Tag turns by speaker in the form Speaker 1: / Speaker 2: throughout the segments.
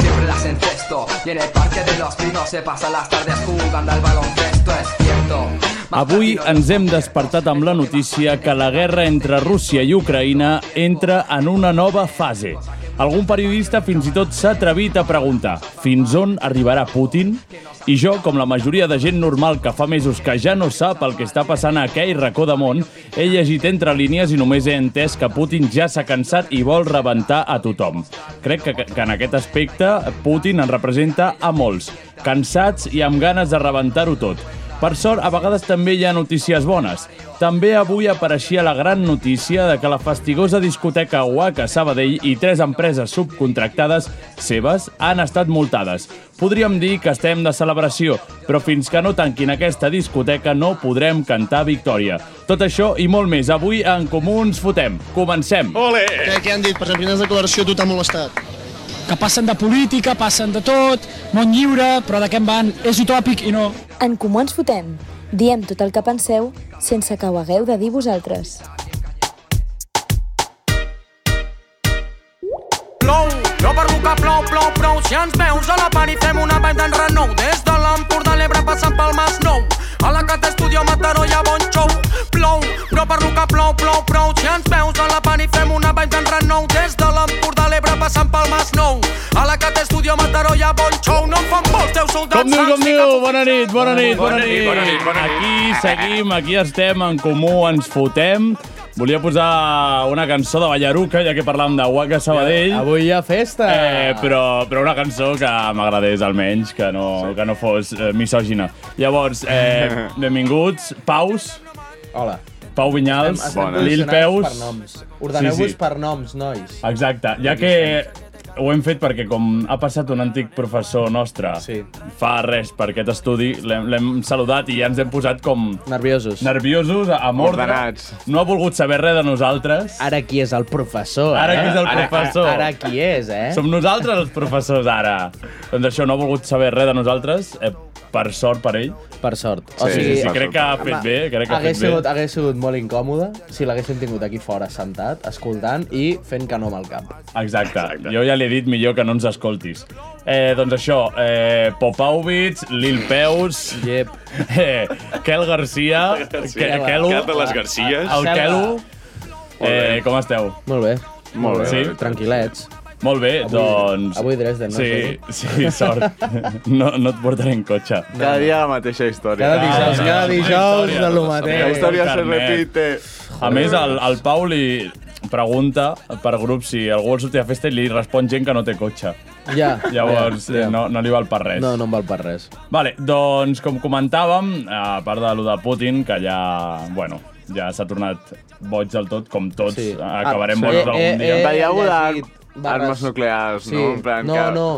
Speaker 1: Siempre las encesto. Y en el parque de los pinos se pasan las tardes jugando al baloncesto, es cierto.
Speaker 2: Avui ens hem despertat amb la notícia que la guerra entre Rússia i Ucraïna entra en una nova fase. Algun periodista fins i tot s'ha atrevit a preguntar fins on arribarà Putin? I jo, com la majoria de gent normal que fa mesos que ja no sap el que està passant a aquell racó de món, he llegit entre línies i només he entès que Putin ja s'ha cansat i vol rebentar a tothom. Crec que, que en aquest aspecte Putin en representa a molts, cansats i amb ganes de rebentar-ho tot. Per sort, a vegades també hi ha notícies bones. També avui apareixia la gran notícia de que la fastigosa discoteca Waka Sabadell i tres empreses subcontractades seves han estat multades. Podríem dir que estem de celebració, però fins que no tanquin aquesta discoteca no podrem cantar victòria. Tot això i molt més avui en Comú ens fotem. Comencem!
Speaker 3: Ole!
Speaker 4: Què, què han dit? Per exemple, quines declaració a tu t'ha molestat?
Speaker 5: que passen de política, passen de tot, món lliure, però de què en van? És utòpic i no.
Speaker 6: En Comú Ens Fotem. Diem tot el que penseu sense que ho hagueu de dir vosaltres.
Speaker 7: Plou, no per boca plou, plou, plou. Si ens veus a la pan i fem una banda en renou. Des de l'Empordà a l'Ebre passant pel Mas Nou. A la Cata Estudio a Mataró hi ha bon xou. Plou, no per boca plou, plou, plou. Si ens veus a la pan i fem una banda en renou. Des de l'Empordà a l'Ebre passant pel Mas Nou. A la Cata Estudio a Mataró hi ha bon xou. No en fan molts, deu soldats.
Speaker 2: Com diu, com
Speaker 7: saps?
Speaker 2: diu? Bona nit, bona nit, bona
Speaker 3: Bona nit,
Speaker 2: nit.
Speaker 3: bona nit, bona nit.
Speaker 2: Aquí seguim, aquí estem, en comú ens fotem. Volia posar una cançó de Ballaruca, ja que parlàvem de Waka Sabadell.
Speaker 8: Avui hi ha festa!
Speaker 2: Eh, però, però una cançó que m'agradés almenys, que no, que no fos eh, misògina. Llavors, eh, benvinguts, Paus,
Speaker 8: Hola.
Speaker 2: Pau Vinyals,
Speaker 3: Bones.
Speaker 2: Lil
Speaker 8: Per
Speaker 2: Peus.
Speaker 8: noms. Ordeneu-vos
Speaker 2: Sí,
Speaker 8: sí,
Speaker 2: sí.
Speaker 8: sí. per noms, nois.
Speaker 2: Exacte, ja que ho hem fet perquè com ha passat un antic professor nostre
Speaker 8: Sí.
Speaker 2: fa res per aquest estudi, l'hem l'hem saludat i ja ens hem posat com
Speaker 8: Nerviosos.
Speaker 2: nerviosos, a a mordre.
Speaker 3: Ordenats.
Speaker 2: No ha volgut saber res de nosaltres.
Speaker 8: Ara qui és el professor,
Speaker 2: Ara
Speaker 8: eh?
Speaker 2: qui és el
Speaker 8: ara,
Speaker 2: professor.
Speaker 8: Ara, ara qui és, eh?
Speaker 2: Som nosaltres els professors, ara. Doncs això, no ha volgut saber res de nosaltres, eh, per sort per ell.
Speaker 8: Per sort. O
Speaker 3: Sí,
Speaker 2: Sí,
Speaker 8: sigui,
Speaker 2: sí,
Speaker 3: per
Speaker 2: crec que ha fet bé, crec que ha
Speaker 8: hagués
Speaker 2: fet
Speaker 8: sigut,
Speaker 2: bé.
Speaker 8: hagués sigut molt incòmode si l'haguéssim tingut aquí fora, sentat, escoltant i fent que no amb el cap.
Speaker 2: Exacte. Jo ja li he dit millor que no ens escoltis. Eh, doncs això, eh, Popovic, Lil Peus,
Speaker 8: Yep.
Speaker 2: eh, Kel Garcia,
Speaker 3: Garcia.
Speaker 2: Kelu,
Speaker 3: Cap de les Garcies.
Speaker 2: el
Speaker 8: Selva.
Speaker 2: Kelu, eh, com esteu?
Speaker 8: Molt bé.
Speaker 3: Molt bé.
Speaker 2: Sí?
Speaker 8: Tranquil·lets.
Speaker 2: Molt bé, doncs...
Speaker 8: avui Dresden, no?
Speaker 2: Sí, sí, sort. No, no et portaré en cotxe.
Speaker 3: Cada dia la mateixa història.
Speaker 8: Cada dijous,
Speaker 2: no, no,
Speaker 8: cada
Speaker 2: no,
Speaker 8: dijous
Speaker 2: història,
Speaker 8: de lo
Speaker 2: no, no,
Speaker 3: La
Speaker 8: mateix.
Speaker 3: història se
Speaker 2: Internet.
Speaker 3: repite.
Speaker 2: A més, el, el Pau li pregunta per grup si algú vol sortir a festa i li respon gent que no té cotxe.
Speaker 8: Ja.
Speaker 2: Llavors,
Speaker 8: ja, ja.
Speaker 2: eh, no, no li val per res.
Speaker 8: No, no em val per res.
Speaker 2: Vale, doncs, com comentàvem, a part de lo de Putin, que ja, bueno, ja s'ha tornat boig del tot, com tots sí.
Speaker 8: Sí.
Speaker 2: acabarem
Speaker 8: Ah,
Speaker 2: boig
Speaker 8: sí. Eh,
Speaker 2: algun
Speaker 8: eh,
Speaker 2: dia.
Speaker 8: eh.
Speaker 3: Va dir alguna
Speaker 8: llegit
Speaker 3: d'armes
Speaker 8: barres.
Speaker 3: armes nuclears, no? En plan
Speaker 8: no,
Speaker 3: que...
Speaker 8: no.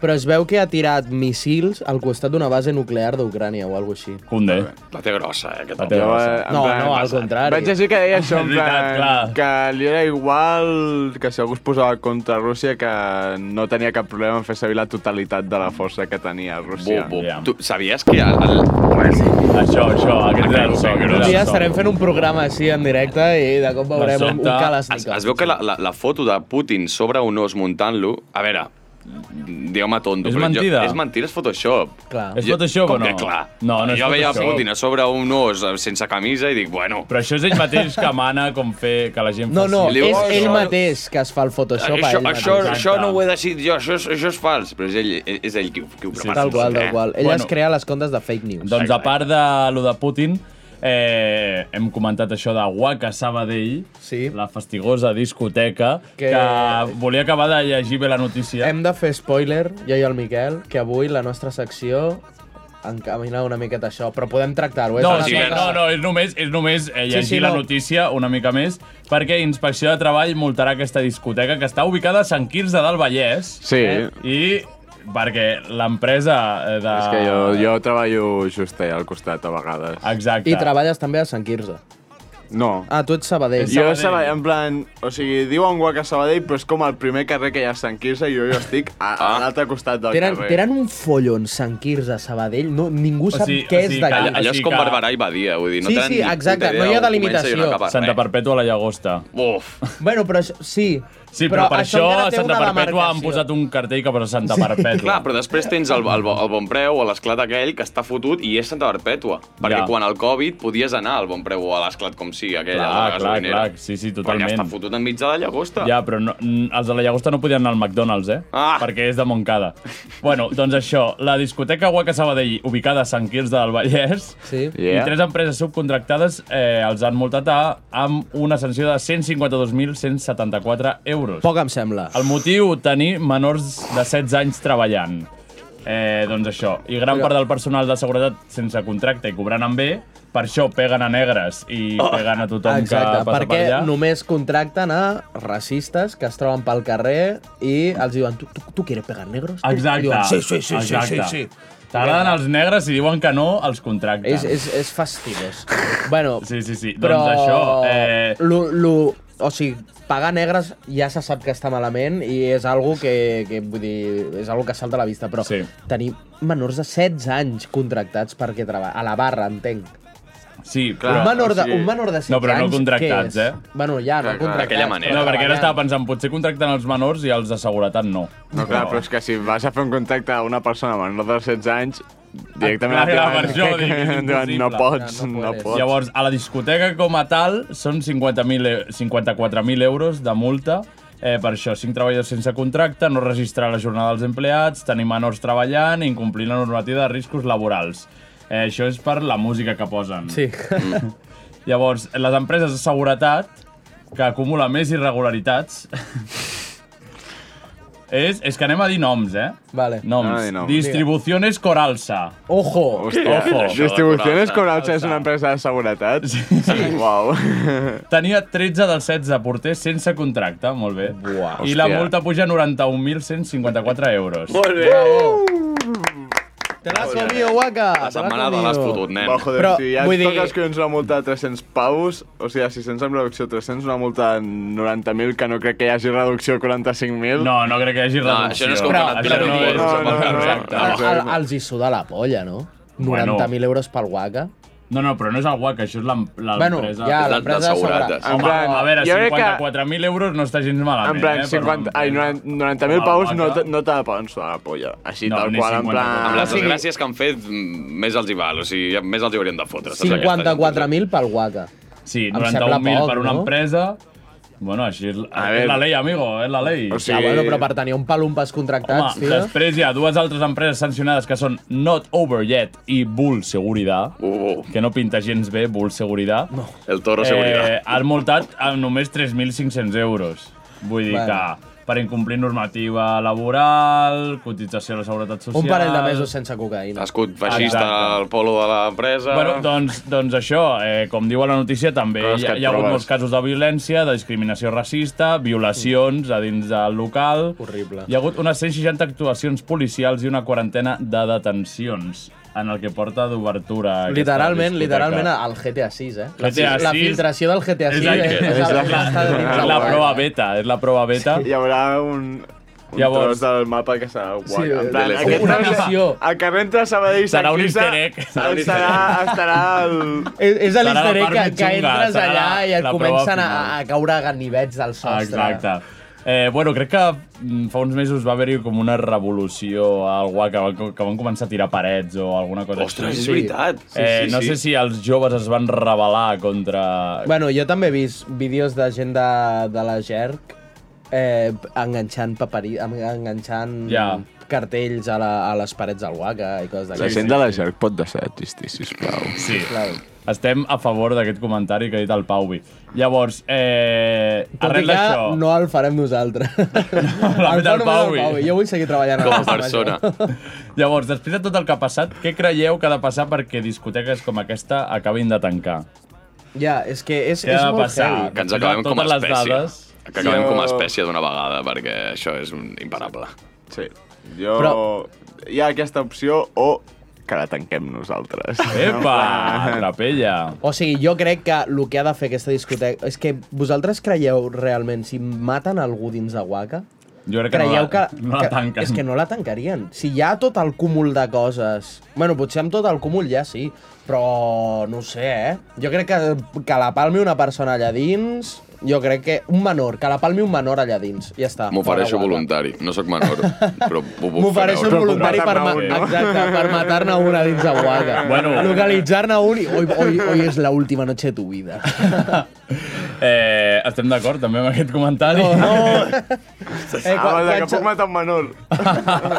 Speaker 8: Però es veu que ha tirat missils al costat d'una base nuclear d'Ucrània o alguna així.
Speaker 2: Cundé.
Speaker 9: La té grossa, eh, aquest
Speaker 2: La
Speaker 9: home.
Speaker 2: teva
Speaker 3: Jo,
Speaker 2: base.
Speaker 3: eh, en
Speaker 8: No, no, al contrari.
Speaker 3: Vaig llegir que deia això, en
Speaker 2: És veritat, clar.
Speaker 3: plan, que li era igual que si algú es posava contra Rússia que no tenia cap problema en fer servir la totalitat de la força que tenia Rússia.
Speaker 9: Bu, bu.
Speaker 2: Ja.
Speaker 9: Tu sabies que el...
Speaker 3: Pues,
Speaker 9: el...
Speaker 2: Això, això, aquest era el so. aquest
Speaker 8: Un
Speaker 2: era el
Speaker 8: dia
Speaker 2: so.
Speaker 8: estarem fent un programa així en directe i de cop veurem un, un
Speaker 2: sobte,
Speaker 9: Es,
Speaker 8: Kalashnikov.
Speaker 9: es veu que la, la, la foto de Putin sobre un os muntant-lo... A veure, digueu-me tonto.
Speaker 2: És
Speaker 9: però jo-
Speaker 2: mentida.
Speaker 9: és mentida, és Photoshop.
Speaker 8: Clar.
Speaker 2: És Photoshop o
Speaker 9: com
Speaker 2: no?
Speaker 9: Que, clar.
Speaker 2: No, no és
Speaker 9: jo veia
Speaker 2: Photoshop.
Speaker 9: Putin a sobre un os eh, sense camisa i dic, bueno...
Speaker 2: Però això és ell mateix que mana com fer que la gent
Speaker 8: No, no,
Speaker 2: faci.
Speaker 9: Li-
Speaker 8: és
Speaker 3: "Oh,
Speaker 9: Això-
Speaker 8: ell mateix que es fa el Photoshop a
Speaker 9: Això,
Speaker 8: ell
Speaker 9: això,
Speaker 8: mateix.
Speaker 9: això no ho he decidit jo, això és, això és fals. Però és ell, és ell qui, ho- qui ho prepara. Eh?
Speaker 8: Tal qual, tal qual. Ell
Speaker 2: Bueno.
Speaker 8: es crea les comptes de fake news.
Speaker 2: Doncs a part de lo de Putin, eh, hem comentat això de Waka Sabadell,
Speaker 8: Sí.
Speaker 2: la fastigosa discoteca, que...
Speaker 8: Que-
Speaker 2: que volia acabar de llegir bé la notícia.
Speaker 8: Hem de fer spoiler, jo i el Miquel, que avui la nostra secció encamina una miqueta això, però podem tractar-ho. eh?
Speaker 2: No,
Speaker 8: Una
Speaker 2: sí,
Speaker 8: mica-
Speaker 2: no, no, és només, és només eh, llegir sí, sí,
Speaker 8: sí,
Speaker 2: la
Speaker 8: no.
Speaker 2: notícia una mica més, perquè
Speaker 8: eh?
Speaker 2: Inspecció de Treball multarà aquesta discoteca que està ubicada a Sant Quirze del Vallès
Speaker 3: Sí.
Speaker 2: i perquè l'empresa eh, de...
Speaker 3: És que jo, jo treballo just allà al costat, a vegades.
Speaker 2: Exacte.
Speaker 8: I treballes també a Sant Quirze.
Speaker 3: No.
Speaker 8: Ah, tu ets Sabadell.
Speaker 3: Jo a Sabadell, en plan... O sigui, diu en guac a Sabadell, però és com el primer carrer que hi ha a Sant Quirze i jo, jo estic a,
Speaker 9: Ah.
Speaker 3: a l'altre costat del
Speaker 8: Tenen,
Speaker 3: carrer.
Speaker 8: tenen un follon Sant Quirze, Sabadell, no, ningú sap
Speaker 2: sigui-
Speaker 8: què
Speaker 2: o sigui,
Speaker 8: és
Speaker 2: calla-
Speaker 8: d'aquí.
Speaker 9: Allò
Speaker 2: O
Speaker 9: és
Speaker 2: sigui
Speaker 9: com
Speaker 2: que-
Speaker 9: Barberà i Badia, vull dir, no
Speaker 8: Sí,
Speaker 9: tenen
Speaker 8: sí,
Speaker 9: ni puta
Speaker 8: exacte,
Speaker 9: idea
Speaker 8: no hi
Speaker 9: on comença i
Speaker 8: ha
Speaker 9: on
Speaker 8: delimitació.
Speaker 9: acaba res.
Speaker 2: Santa Perpètua a la Llagosta.
Speaker 9: Uf,
Speaker 8: Bueno, però això, sí.
Speaker 2: Sí, però, per això,
Speaker 8: encara
Speaker 2: a
Speaker 8: té
Speaker 2: Santa
Speaker 8: una
Speaker 2: Perpètua han
Speaker 8: demarcació.
Speaker 2: posat un cartell que posa Santa Perpètua.
Speaker 9: clar, però després tens el, el, bo- el bon preu o l'esclat aquell que està fotut i és Santa Perpètua. Perquè
Speaker 2: Ja.
Speaker 9: quan el Covid podies anar al bon preu o a l'esclat com sigui, aquella
Speaker 2: Clar,
Speaker 9: de la
Speaker 2: clar,
Speaker 9: gasolinera.
Speaker 2: clar, sí, sí,
Speaker 9: Però
Speaker 2: totalment.
Speaker 9: ja està fotut enmig de la llagosta.
Speaker 2: Ja, però no, n- els de la Llagosta no podien anar al McDonald's, eh?
Speaker 9: Ah!
Speaker 2: Perquè és de Montcada. bueno, doncs això, la discoteca Guaca Sabadell, ubicada a Sant Quirze del Vallès,
Speaker 8: Sí.
Speaker 2: i tres empreses subcontractades eh, els han multat a, amb una sanció de 152.174 euros.
Speaker 8: Poc em sembla.
Speaker 2: El motiu, tenir menors de 16 anys treballant. Eh, doncs això. I gran part del personal de seguretat sense contracte i cobrant amb bé, per això peguen a negres i peguen a tothom
Speaker 8: Exacte,
Speaker 2: que passa
Speaker 8: perquè
Speaker 2: per allà.
Speaker 8: només contracten a racistes que es troben pel carrer i els diuen tu, tu, tu quieres pegar negros?
Speaker 2: Exacte.
Speaker 8: I Diuen, sí, sí, sí, sí,
Speaker 2: Exacte.
Speaker 8: sí, sí.
Speaker 2: T'agraden els negres i diuen que no, els contracten.
Speaker 8: És, és, és fastigós. bueno,
Speaker 2: Sí, sí, sí.
Speaker 8: però...
Speaker 2: Doncs això... Eh,
Speaker 8: Lo, lo, o sigui, pagar negres ja se sap que està malament i és algo que, que vull dir, és algo que salta a la vista, però
Speaker 2: Sí.
Speaker 8: tenir menors de 16 anys contractats perquè treballa, a la barra, entenc.
Speaker 2: sí,
Speaker 8: Clar,
Speaker 2: però...
Speaker 8: un, menor de,
Speaker 3: o sigui-
Speaker 8: un menor de 16
Speaker 2: No, però no
Speaker 8: anys, què
Speaker 2: contractats,
Speaker 8: és?
Speaker 2: eh?
Speaker 8: Bueno, ja, no
Speaker 3: Clar, clar,
Speaker 8: contractats.
Speaker 9: d'aquella manera.
Speaker 2: No, perquè ara
Speaker 8: treballant.
Speaker 2: estava pensant, potser contracten els menors i els de seguretat no.
Speaker 3: No, clar, però és que si vas a fer un contacte a una persona menor de 16 anys, directament
Speaker 2: Ah, clar,
Speaker 3: et
Speaker 2: per això
Speaker 3: diuen-
Speaker 2: dic, és
Speaker 3: et diuen, no
Speaker 2: impossible."
Speaker 3: pots,
Speaker 8: No, no
Speaker 3: no
Speaker 8: puedes.
Speaker 3: pots.
Speaker 2: Llavors, a la discoteca com a tal són 50.000 e- 54.000 euros de multa eh, per això, 5 treballadors sense contracte, no registrar la jornada dels empleats, tenir menors treballant i incomplir la normativa de riscos laborals. Eh, això és per la música que posen.
Speaker 8: Sí.
Speaker 9: Mm.
Speaker 2: Llavors, les empreses de seguretat que acumula més irregularitats és, és que anem a dir noms, eh?
Speaker 8: Vale.
Speaker 2: Noms.
Speaker 3: Anem a dir noms.
Speaker 2: Distribuciones Coralsa.
Speaker 8: Ojo!
Speaker 3: Hòstia,
Speaker 2: Ojo.
Speaker 3: Distribuciones
Speaker 9: Això de
Speaker 3: Coralsa és una empresa de seguretat? Sí. Uau.
Speaker 2: Tenia 13 dels 16 porters sense contracte, molt bé.
Speaker 8: Buah.
Speaker 2: I la
Speaker 3: Hòstia.
Speaker 2: multa puja a 91.154 euros.
Speaker 9: Molt bé.
Speaker 8: Te l'has comido, guaca!
Speaker 9: La setmana de l'has fotut, nen.
Speaker 3: Va, joder,
Speaker 8: Però,
Speaker 3: si ja
Speaker 8: vull
Speaker 3: et
Speaker 8: dir-
Speaker 3: toques dir... collons una multa de 300 paus, o sigui, de 600 amb reducció de 300, una multa de 90.000, que no crec que hi hagi reducció de 45.000.
Speaker 2: No, no crec que hi hagi
Speaker 9: No,
Speaker 2: reducció.
Speaker 9: això no és com que
Speaker 8: Però-
Speaker 9: anat
Speaker 2: Això
Speaker 9: pilant un
Speaker 2: no és-
Speaker 9: gorro
Speaker 3: no,
Speaker 9: amb el
Speaker 3: no,
Speaker 9: carrer.
Speaker 3: no, no.
Speaker 9: Vamos.
Speaker 8: El, el, els hi suda la polla, no? 90.000
Speaker 2: Bueno.
Speaker 8: euros pel guaca.
Speaker 2: No, no, però no és el guac, això és l'em- l'empresa. Ah,
Speaker 8: Bueno, ja,
Speaker 9: del-
Speaker 8: l'empresa
Speaker 9: dels
Speaker 8: de seguretat.
Speaker 9: segurates.
Speaker 3: En
Speaker 2: Home,
Speaker 3: plan,
Speaker 2: a veure,
Speaker 3: jo crec que-
Speaker 2: 54.000 euros no està gens malament,
Speaker 3: En plan,
Speaker 2: eh?
Speaker 3: 50, ai, 90.000 90
Speaker 2: Home,
Speaker 3: paus no,
Speaker 2: guaca.
Speaker 3: te- no te la poden sudar la polla. Així,
Speaker 2: No,
Speaker 3: tal
Speaker 2: ni
Speaker 3: qual, en
Speaker 2: 50.
Speaker 9: Amb
Speaker 3: plan...
Speaker 9: les desgràcies que han fet, mm, més els hi val. O sigui, ja- més els hi haurien de fotre. saps, aquesta gent?
Speaker 8: 54.000 pel guaca.
Speaker 2: Sí,
Speaker 8: Em sembla
Speaker 2: 91.000 per
Speaker 8: poc,
Speaker 2: una
Speaker 8: no?
Speaker 2: empresa... Bueno, així és,
Speaker 3: A
Speaker 2: és
Speaker 3: veure.
Speaker 2: la ley, amigo, és la ley.
Speaker 3: O
Speaker 8: Sí. Ja,
Speaker 3: sigui,
Speaker 8: Ah, bueno, però per tenir un palumpes
Speaker 2: Home,
Speaker 8: contractats, tio...
Speaker 2: després hi ha dues altres empreses sancionades que són Not Over Yet i Bull Seguridad,
Speaker 9: Uh,
Speaker 2: que no pinta gens bé, Bull Seguridad. No.
Speaker 9: el toro seguridad.
Speaker 2: Eh, han multat amb només 3.500 euros. Vull dir
Speaker 8: Bueno.
Speaker 2: que per incomplir normativa laboral, cotització a la Seguretat Social...
Speaker 8: Un parell de mesos sense cocaïna.
Speaker 9: Escut feixista
Speaker 2: Exacte.
Speaker 9: al polo de l'empresa.
Speaker 2: Bueno, doncs, doncs això, eh, com diu a la notícia, també
Speaker 3: Coses
Speaker 2: hi,
Speaker 3: que
Speaker 2: ha-
Speaker 3: et
Speaker 2: hi ha hagut
Speaker 3: trobes.
Speaker 2: molts casos de violència, de discriminació racista, violacions a dins del local...
Speaker 8: Horrible.
Speaker 2: Hi ha hagut unes 160 actuacions policials i una quarantena de detencions en el que porta d'obertura. aquesta
Speaker 8: Literalment,
Speaker 2: discoteca.
Speaker 8: literalment, al GTA 6, eh? La-
Speaker 2: GTA
Speaker 8: La
Speaker 2: 6.
Speaker 8: filtració del GTA 6
Speaker 2: És, la,
Speaker 8: és,
Speaker 2: és,
Speaker 8: és,
Speaker 2: la,
Speaker 8: el que està
Speaker 2: és,
Speaker 8: dins
Speaker 2: la,
Speaker 8: del guaca.
Speaker 2: prova beta, és la prova beta.
Speaker 3: hi haurà un... Un
Speaker 2: Llavors-
Speaker 3: Llavors, tros del mapa que serà guai.
Speaker 8: Sí,
Speaker 3: en plan,
Speaker 9: de-
Speaker 3: aquest
Speaker 8: una
Speaker 3: tros-
Speaker 8: missió.
Speaker 3: El carrer entre Sabadell i Sant
Speaker 2: Serà un
Speaker 3: Quirze
Speaker 2: easter egg. Serà un easter
Speaker 3: Estarà, estarà el...
Speaker 8: És, és
Speaker 2: Serà la
Speaker 8: l'easter egg
Speaker 2: part
Speaker 8: que,
Speaker 2: més
Speaker 8: que
Speaker 2: xunga,
Speaker 8: entres
Speaker 2: serà
Speaker 8: allà i et
Speaker 2: la prova
Speaker 8: comencen a,
Speaker 2: final.
Speaker 8: a caure ganivets del sostre.
Speaker 2: Exacte. Eh, bueno, crec que mm, fa uns mesos va haver-hi com una revolució al guac, que, van, que van començar a tirar parets o alguna cosa
Speaker 9: Ostres,
Speaker 2: així.
Speaker 9: és veritat.
Speaker 2: eh, no sé si els joves es van rebel·lar contra...
Speaker 8: Bueno, jo també he vist vídeos de gent de, de la GERC eh, enganxant paperi, en- enganxant
Speaker 2: Ja.
Speaker 8: cartells a, la, a les parets del Waka i coses
Speaker 3: La
Speaker 8: d'aquestes.
Speaker 3: gent de la Jerc pot deixar de tistir, sisplau.
Speaker 2: Sí.
Speaker 8: Claro.
Speaker 2: Estem a favor d'aquest comentari que ha dit el Pauvi. Llavors, eh,
Speaker 8: Tot i
Speaker 2: arrel
Speaker 8: que
Speaker 2: d'això...
Speaker 8: no el farem nosaltres.
Speaker 2: la
Speaker 8: el
Speaker 2: fet el Pau i-
Speaker 8: Jo vull seguir treballant a
Speaker 9: Com a
Speaker 8: aquesta
Speaker 9: persona.
Speaker 8: màgia.
Speaker 2: Llavors, després de tot el que ha passat, què creieu que ha de passar perquè discoteques com aquesta acabin de tancar?
Speaker 8: Ja, és que és,
Speaker 2: Què
Speaker 8: és
Speaker 2: ha de
Speaker 8: molt
Speaker 2: passar?
Speaker 8: heavy.
Speaker 9: Que ens acabem com a
Speaker 2: Totes les
Speaker 9: espècie.
Speaker 2: dades-
Speaker 9: Que acabem
Speaker 3: Jo-
Speaker 9: com a espècie d'una vegada, perquè això és un imparable.
Speaker 3: Sí. Jo... Però...
Speaker 8: Però-
Speaker 3: Hi ha aquesta opció o que la tanquem nosaltres.
Speaker 2: Epa, trapella.
Speaker 8: O sigui, jo crec que el que ha de fer aquesta discoteca... És que vosaltres creieu realment si maten algú dins de Waka?
Speaker 2: Jo crec que no
Speaker 8: Creieu
Speaker 2: la,
Speaker 8: que,
Speaker 2: no la tanquen.
Speaker 8: És que no la tancarien. Si hi ha tot el cúmul de coses... Bueno, potser amb tot el cúmul ja sí, però no ho sé, eh? Jo crec que, que la palmi una persona allà dins... Jo crec que un menor, que la palmi un menor allà dins. Ja està.
Speaker 9: M'ofereixo
Speaker 8: Fora guapa.
Speaker 9: voluntari. No sóc menor, però ho puc
Speaker 8: M'ofereixo
Speaker 9: fer
Speaker 8: un
Speaker 9: veure.
Speaker 8: voluntari per, ma
Speaker 3: Matar-ne un, no?
Speaker 8: exacte, per matar-ne una dins de Guaga.
Speaker 2: Bueno.
Speaker 8: Localitzar-ne un i hoy, hoy, hoy és la última noche de tu vida.
Speaker 2: Eh, estem d'acord també amb aquest comentari?
Speaker 8: Oh, Eh,
Speaker 3: Ah,
Speaker 8: quan-
Speaker 3: vale,
Speaker 8: quan
Speaker 3: que puc matar un menor.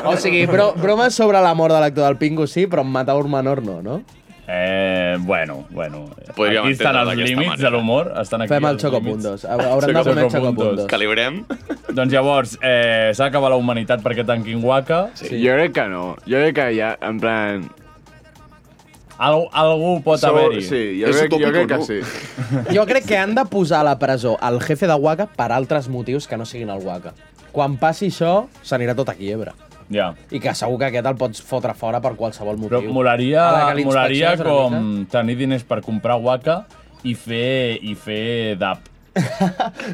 Speaker 8: O sigui, bro, bromes sobre la mort de l'actor del Pingo sí, però matar un menor no, no?
Speaker 2: Eh, bueno, bueno.
Speaker 9: Podríem
Speaker 2: aquí estan
Speaker 9: entendre-ho
Speaker 2: els
Speaker 9: d'aquesta
Speaker 2: límits
Speaker 9: manera.
Speaker 2: de l'humor. Estan aquí
Speaker 8: Fem el
Speaker 2: els límits.
Speaker 8: Chocopuntos. Haurem de comer
Speaker 2: Chocopuntos.
Speaker 8: Chocopuntos.
Speaker 9: Calibrem?
Speaker 2: Doncs llavors, eh, s'ha acabat la humanitat perquè tanquin Waka.
Speaker 3: Sí. Jo crec que no. Jo crec que ja, en plan...
Speaker 2: Al, algú pot
Speaker 3: sou-
Speaker 2: haver-hi.
Speaker 3: Sí, jo
Speaker 9: És
Speaker 3: crec, jo
Speaker 9: utópico,
Speaker 3: crec que
Speaker 9: no?
Speaker 3: sí.
Speaker 8: Jo crec que han de posar a la presó al jefe de Waka per altres motius que no siguin el Waka. Quan passi això, s'anirà tot a quiebre.
Speaker 2: Ja.
Speaker 8: I que segur que aquest el pots fotre fora per qualsevol motiu.
Speaker 2: Però molaria,
Speaker 8: A la que l'inspecciones
Speaker 2: molaria
Speaker 8: una mica.
Speaker 2: com tenir diners per comprar Waka i fer, i fer DAP.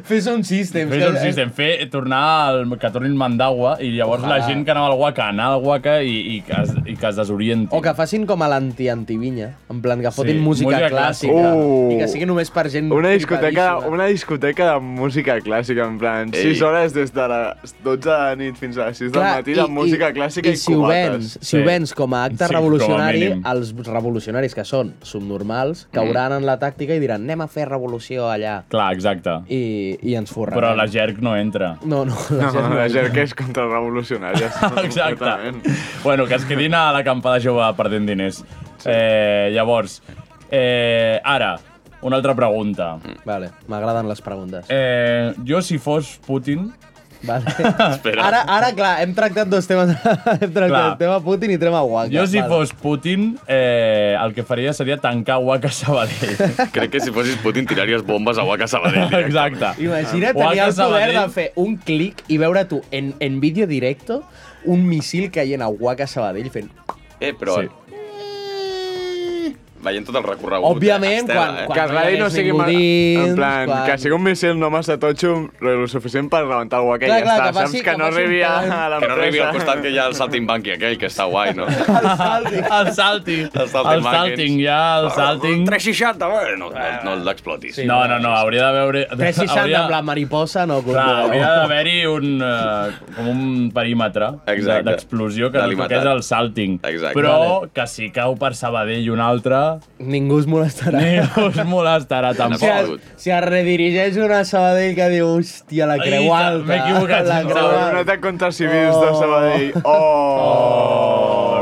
Speaker 8: Fes un sistema.
Speaker 2: Fes un sistema, fer, tornar al, que tornin Mandawa i llavors
Speaker 8: Ojalà.
Speaker 2: la gent que anava al Waka anar al Waka i, i, que, es, i que es desorienti.
Speaker 8: O que facin com a l'anti-antivinya, en plan que fotin
Speaker 2: Sí,
Speaker 8: sí, música,
Speaker 2: música
Speaker 8: clàssica,
Speaker 3: clàssica.
Speaker 8: i que sigui només per gent
Speaker 3: Una discoteca,
Speaker 8: flipadíssima.
Speaker 3: una discoteca de música clàssica, en plan,
Speaker 9: Ei.
Speaker 3: 6 hores des de les 12 de la nit fins a les 6 del
Speaker 8: Clar,
Speaker 3: matí de música clàssica i,
Speaker 8: si ho vens,
Speaker 3: cubates.
Speaker 8: si ho
Speaker 2: Sí.
Speaker 8: vens com a acte
Speaker 2: Sí,
Speaker 8: revolucionari,
Speaker 2: com a mínim. Mm.
Speaker 8: els revolucionaris que són subnormals cauran en la tàctica i diran anem a fer revolució allà
Speaker 2: Clar, exacte.
Speaker 8: i, i ens forraran.
Speaker 2: Però la jerk no entra.
Speaker 8: No, no, la gent
Speaker 3: No,
Speaker 8: no.
Speaker 3: la gent que és contrarrevolucionària. completament.
Speaker 2: Exacte. Bueno, que es quedin a l'acampada jove perdent diners. Eh, llavors, eh, ara, una altra pregunta.
Speaker 8: Vale, m'agraden les preguntes.
Speaker 2: Eh, jo, si fos Putin...
Speaker 8: Vale.
Speaker 9: Espera.
Speaker 8: Ara, ara, clar, hem tractat dos temes. hem tractat
Speaker 2: Clar.
Speaker 8: el tema Putin i tema Waka.
Speaker 2: Jo, si
Speaker 8: vale.
Speaker 2: fos Putin, eh, el que faria seria tancar Waka Sabadell.
Speaker 9: Crec que si fossis Putin tiraries bombes a Waka Sabadell.
Speaker 2: Exacte.
Speaker 8: Imagina't
Speaker 2: Waka
Speaker 8: tenir el poder
Speaker 2: Sabadell.
Speaker 8: de fer un clic i veure tu en, en vídeo directo un missil caient a Waka Sabadell fent...
Speaker 9: Eh, però...
Speaker 2: Sí.
Speaker 9: Veient tot el recorregut.
Speaker 8: Òbviament,
Speaker 9: eh, estela,
Speaker 8: quan-
Speaker 9: eh?
Speaker 8: quan-
Speaker 3: Que el radi no
Speaker 8: hagués
Speaker 3: sigui
Speaker 8: ningú
Speaker 3: mal...
Speaker 8: dins,
Speaker 3: en plan,
Speaker 8: quan-
Speaker 3: que sigui un missil no massa totxo, però el suficient per rebentar el guaquet.
Speaker 8: Clar,
Speaker 3: Ja
Speaker 8: clar,
Speaker 3: està,
Speaker 8: que passi-
Speaker 3: saps
Speaker 8: que
Speaker 3: que no
Speaker 8: passi un
Speaker 3: arribi a
Speaker 8: talent.
Speaker 3: l'empresa.
Speaker 9: Que no arribi al costat que hi ha el saltimbanqui aquell, que està guai, no?
Speaker 8: El salti.
Speaker 2: El salting.
Speaker 9: El salting
Speaker 2: El salting,
Speaker 9: Mackens.
Speaker 2: ja, el salting.
Speaker 9: 360, bé, no, no, no l'explotis.
Speaker 8: Sí.
Speaker 2: No, no, no, hauria de veure...
Speaker 8: 360
Speaker 2: hauria-
Speaker 8: amb la mariposa, no?
Speaker 2: Clar,
Speaker 8: controlo.
Speaker 2: hauria d'haver-hi un, eh, com un perímetre
Speaker 9: Exacte.
Speaker 2: de- d'explosió que
Speaker 9: Delimitat.
Speaker 2: és el salting.
Speaker 9: Exacte.
Speaker 2: Però que si cau per Sabadell i un altre,
Speaker 8: Ningú es molestarà.
Speaker 2: ningú us molestarà
Speaker 8: Si
Speaker 2: tampoc.
Speaker 8: es, si es redirigeix una Sabadell que diu, hòstia, la creu
Speaker 2: Ai,
Speaker 8: alta.
Speaker 2: m'he equivocat,
Speaker 8: La
Speaker 2: em
Speaker 8: creu
Speaker 2: sembla.
Speaker 3: Un
Speaker 8: alta.
Speaker 3: atac contra civils
Speaker 8: Oh.
Speaker 3: de Sabadell. Oh!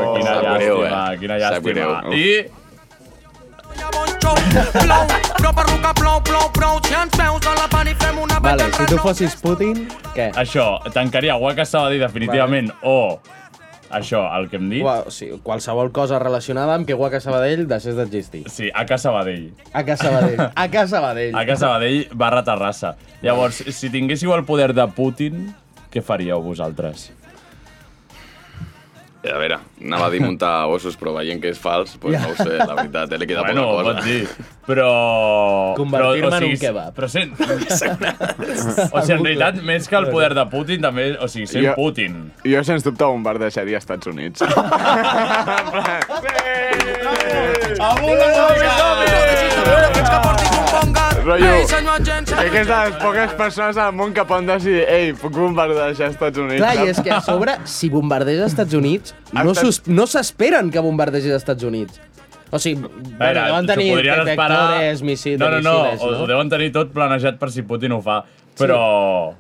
Speaker 2: Oh, quina
Speaker 9: Sap
Speaker 2: llàstima,
Speaker 9: greu, eh?
Speaker 2: quina
Speaker 9: Sap
Speaker 2: llàstima.
Speaker 9: greu.
Speaker 2: I
Speaker 8: Vale, si tu fossis Putin, què?
Speaker 2: això, tancaria Waka Sabadell definitivament, o això, el que hem dit,
Speaker 8: Ua, o sigui, qualsevol cosa relacionada amb que Waka Sabadell deixés d'existir.
Speaker 2: sí, a Casa Sabadell.
Speaker 8: A casa Sabadell. A casa Sabadell.
Speaker 2: A Casa Sabadell barra Terrassa. Llavors, si tinguéssiu el poder de Putin, què faríeu vosaltres?
Speaker 9: Eh, A veure, anava a dir muntar ossos, però veient que és fals, doncs no ho sé, la veritat, eh, li queda
Speaker 2: Bueno, ho
Speaker 9: poca cosa.
Speaker 2: pots dir, però... però, o
Speaker 8: Convertir-me en un
Speaker 2: sigui,
Speaker 8: kebab.
Speaker 2: Però sent... o sigui, en realitat, més que el poder de Putin, també... O sigui, sent
Speaker 3: Jo-
Speaker 2: Putin.
Speaker 3: Jo, sens dubte, bombardejaria Estats Units. en plan, sí! Rotllo, Crec que és de les poques persones del món que poden decidir ei, puc bombardejar Estats Units.
Speaker 8: Clar, i és que a sobre, si bombardeja els Estats Units, no
Speaker 3: Estat-
Speaker 8: s'us- no s'esperen que bombardegi els Estats Units. O sigui, bueno,
Speaker 2: A veure,
Speaker 8: deuen
Speaker 2: s'ho
Speaker 8: tenir
Speaker 2: podrien esperar...
Speaker 8: detectores, missi-
Speaker 2: no, no, no,
Speaker 8: misiles,
Speaker 2: ho- ho deuen tenir tot planejat per si Putin ho fa, però...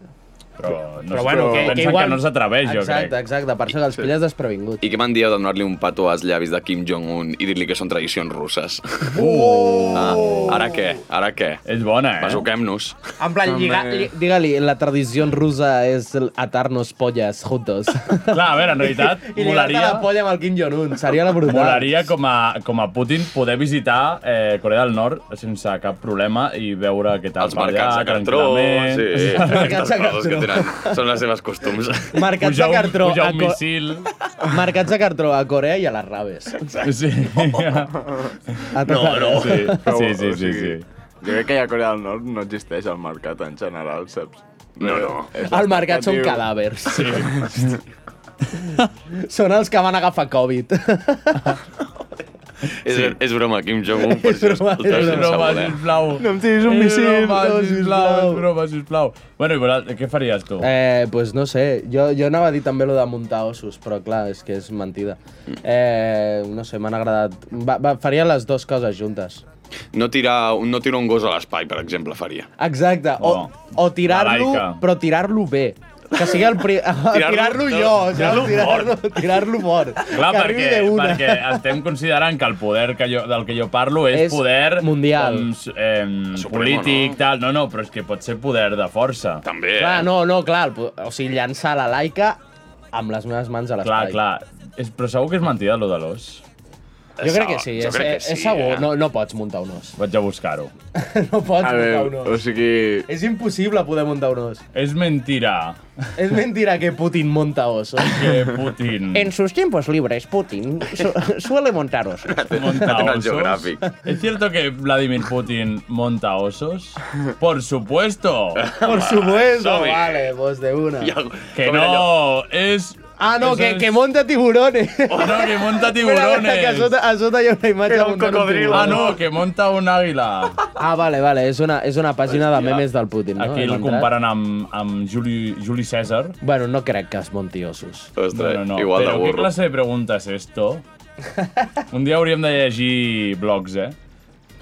Speaker 2: Però, no
Speaker 8: Però
Speaker 2: sé,
Speaker 8: bueno, que,
Speaker 2: pensen
Speaker 8: que
Speaker 2: que,
Speaker 8: igual...
Speaker 2: no s'atreveix, jo
Speaker 8: exacte,
Speaker 2: crec.
Speaker 8: Exacte, per això que els pilles desprevinguts.
Speaker 9: I què me'n dieu de donar-li un petó als llavis de Kim Jong-un i dir-li que són tradicions russes? Uh! Ah, ara què? Ara què?
Speaker 2: És bona, eh?
Speaker 9: Besuquem-nos.
Speaker 8: En plan, lliga, li, digue-li, la tradició russa és el atar-nos polles juntos.
Speaker 2: Clar, a veure, en realitat,
Speaker 8: I ligar-te
Speaker 2: molaria...
Speaker 8: la polla amb el Kim Jong-un, seria la brutal.
Speaker 2: Molaria com a, com a Putin poder visitar eh, Corea del Nord sense cap problema i veure què tal
Speaker 9: Els
Speaker 2: per allà,
Speaker 9: mercats de cartró,
Speaker 2: tranquil·lament.
Speaker 9: sí.
Speaker 8: Mercats de
Speaker 9: Aquestes coses que
Speaker 8: cartró.
Speaker 9: tenen, són les seves costums.
Speaker 8: Mercats
Speaker 2: Pujar
Speaker 8: de
Speaker 2: un,
Speaker 8: cartró,
Speaker 2: pujar
Speaker 8: a
Speaker 2: un
Speaker 8: Co-
Speaker 2: missil...
Speaker 8: Mercats de cartró a Corea i a les Raves.
Speaker 2: Sí.
Speaker 8: A tot arreu.
Speaker 2: Sí,
Speaker 3: Però,
Speaker 2: sí, sí,
Speaker 3: o
Speaker 2: sí,
Speaker 3: sigui,
Speaker 2: sí.
Speaker 3: Jo crec que ja a Corea del Nord no existeix el mercat en general, saps? Eh,
Speaker 9: No, no.
Speaker 3: És
Speaker 8: El mercat són
Speaker 3: diu-
Speaker 8: cadàvers. Sí. són els que van agafar Covid.
Speaker 9: És, és broma, Kim Jong-un, per
Speaker 8: És
Speaker 9: si
Speaker 8: broma, és
Speaker 9: l'escoltes sense
Speaker 2: Broma,
Speaker 9: voler.
Speaker 2: sisplau.
Speaker 3: No em tiris un
Speaker 2: És
Speaker 3: missil,
Speaker 2: Broma,
Speaker 3: no,
Speaker 2: sisplau,
Speaker 3: sisplau.
Speaker 2: és broma, sisplau. Bueno, i vosaltres, què faries tu?
Speaker 8: Eh, pues no sé, jo, jo anava a dir també lo de muntar ossos, però clar, és que és mentida. Eh, no sé, m'han agradat. Va, va, faria les dues coses juntes.
Speaker 9: No tirar, un- no tirar un gos a l'espai, per exemple, faria.
Speaker 8: Exacte, o,
Speaker 2: Oh.
Speaker 8: o tirar-lo,
Speaker 2: La laica.
Speaker 8: però tirar-lo bé. Que sigui el pri...
Speaker 9: Tirar-lo-
Speaker 8: tirar-lo jo,
Speaker 2: tirar-lo
Speaker 8: saps? tirar-lo tirar-lo fort.
Speaker 2: Clar,
Speaker 8: que arribi
Speaker 2: perquè,
Speaker 8: de una.
Speaker 2: perquè estem considerant que el poder que jo, del que jo parlo és,
Speaker 8: És
Speaker 2: poder
Speaker 8: mundial.
Speaker 2: doncs, em,
Speaker 9: Supremo,
Speaker 2: polític,
Speaker 9: no?
Speaker 2: tal. No, no, però és que pot ser poder de força.
Speaker 9: També,
Speaker 8: Clar,
Speaker 9: eh?
Speaker 8: no, no, clar, el po- o sigui, llançar la laica amb les meves mans a
Speaker 2: Clar,
Speaker 8: l'espai.
Speaker 2: clar. És, però segur que és mentida, lo de l'os.
Speaker 8: Jo crec que sí,
Speaker 9: Jo
Speaker 8: és,
Speaker 9: crec que
Speaker 8: és, és
Speaker 9: sí,
Speaker 8: segur.
Speaker 9: eh?
Speaker 8: No, no pots muntar un os.
Speaker 2: Vaig a buscar-ho.
Speaker 8: No pots
Speaker 3: A
Speaker 8: muntar un
Speaker 3: veure, o
Speaker 8: os.
Speaker 3: sigui...
Speaker 8: És impossible poder muntar un os.
Speaker 2: És mentira
Speaker 8: És mentira que Putin eh? monta osos.
Speaker 2: que Putin
Speaker 8: sus tiempos libres, Putin suele montar osos.
Speaker 2: monta
Speaker 9: National
Speaker 2: osos.
Speaker 9: Geographic.
Speaker 2: ¿Es cierto que Vladimir Putin monta osos? Por supuesto.
Speaker 8: Por supuesto,
Speaker 9: Som-hi.
Speaker 8: vale, pues de una.
Speaker 9: Hi ha-
Speaker 2: Que
Speaker 9: com era allò?
Speaker 2: no, es...
Speaker 8: Ah, no,
Speaker 2: eso
Speaker 8: que,
Speaker 2: es-
Speaker 8: que monta tiburones.
Speaker 2: Oh, no, que monta
Speaker 8: Espera, que a
Speaker 2: tiburones.
Speaker 8: sota, a sota hi ha una imatge
Speaker 3: Era un
Speaker 8: muntant
Speaker 3: cocodrilo.
Speaker 8: tiburó.
Speaker 2: Ah, no, que monta un àguila.
Speaker 8: Ah, vale, vale, és una, és una pàgina de memes del Putin, no?
Speaker 2: Aquí
Speaker 8: Hem
Speaker 2: el
Speaker 8: entrat?
Speaker 2: comparen amb, amb Juli, Juli César.
Speaker 8: Bueno, no crec que es monti ossos.
Speaker 9: Ostres,
Speaker 2: no, no, no.
Speaker 9: igual de
Speaker 2: Però què
Speaker 9: burro.
Speaker 2: classe de pregunta és esto? Un dia hauríem de llegir blogs, eh?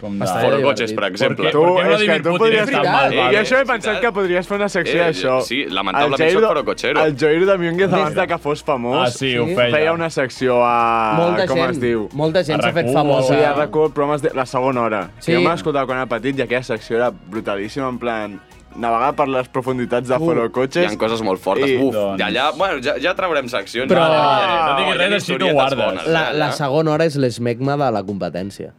Speaker 2: Com de...
Speaker 8: Estaria
Speaker 9: Foro
Speaker 8: divertit.
Speaker 9: cotxes, per exemple.
Speaker 2: Per què Vladimir Putin és tan
Speaker 3: triar.
Speaker 2: malvado?
Speaker 3: I això he
Speaker 9: Eh,
Speaker 3: pensat
Speaker 9: veritat.
Speaker 3: que podries fer una secció
Speaker 9: Eh,
Speaker 3: d'això.
Speaker 9: sí, lamentablement
Speaker 3: El Jair
Speaker 9: soc
Speaker 3: Do-
Speaker 9: forocochero.
Speaker 3: El Jair de Domínguez, abans de que fos famós,
Speaker 2: Ah, sí, ho
Speaker 8: Sí.
Speaker 2: feia.
Speaker 3: feia una secció a...
Speaker 8: molta
Speaker 3: Ah, com
Speaker 8: gent,
Speaker 3: es diu?
Speaker 8: molta gent
Speaker 2: A
Speaker 8: s'ha fet
Speaker 2: RAC1
Speaker 8: famosa.
Speaker 3: Sí, a rac programes de la segona hora.
Speaker 8: Sí.
Speaker 3: Sí. Jo m'escoltava quan era petit i aquella secció era brutalíssima, en plan, navegar per les profunditats de
Speaker 9: Hi
Speaker 3: forocotxes.
Speaker 9: ha coses molt fortes.
Speaker 3: I-
Speaker 9: Buf,
Speaker 2: Doncs-
Speaker 9: d'allà... Bueno, ja, ja traurem seccions.
Speaker 8: Però-
Speaker 9: Ja, ja, ja,
Speaker 2: No diguis
Speaker 9: ja,
Speaker 2: res,
Speaker 9: hi ha
Speaker 2: així t'ho
Speaker 9: historietes
Speaker 2: guardes.
Speaker 9: bones,
Speaker 8: La,
Speaker 9: eh,
Speaker 8: la
Speaker 9: allà.
Speaker 8: segona hora és l'esmegma de la competència.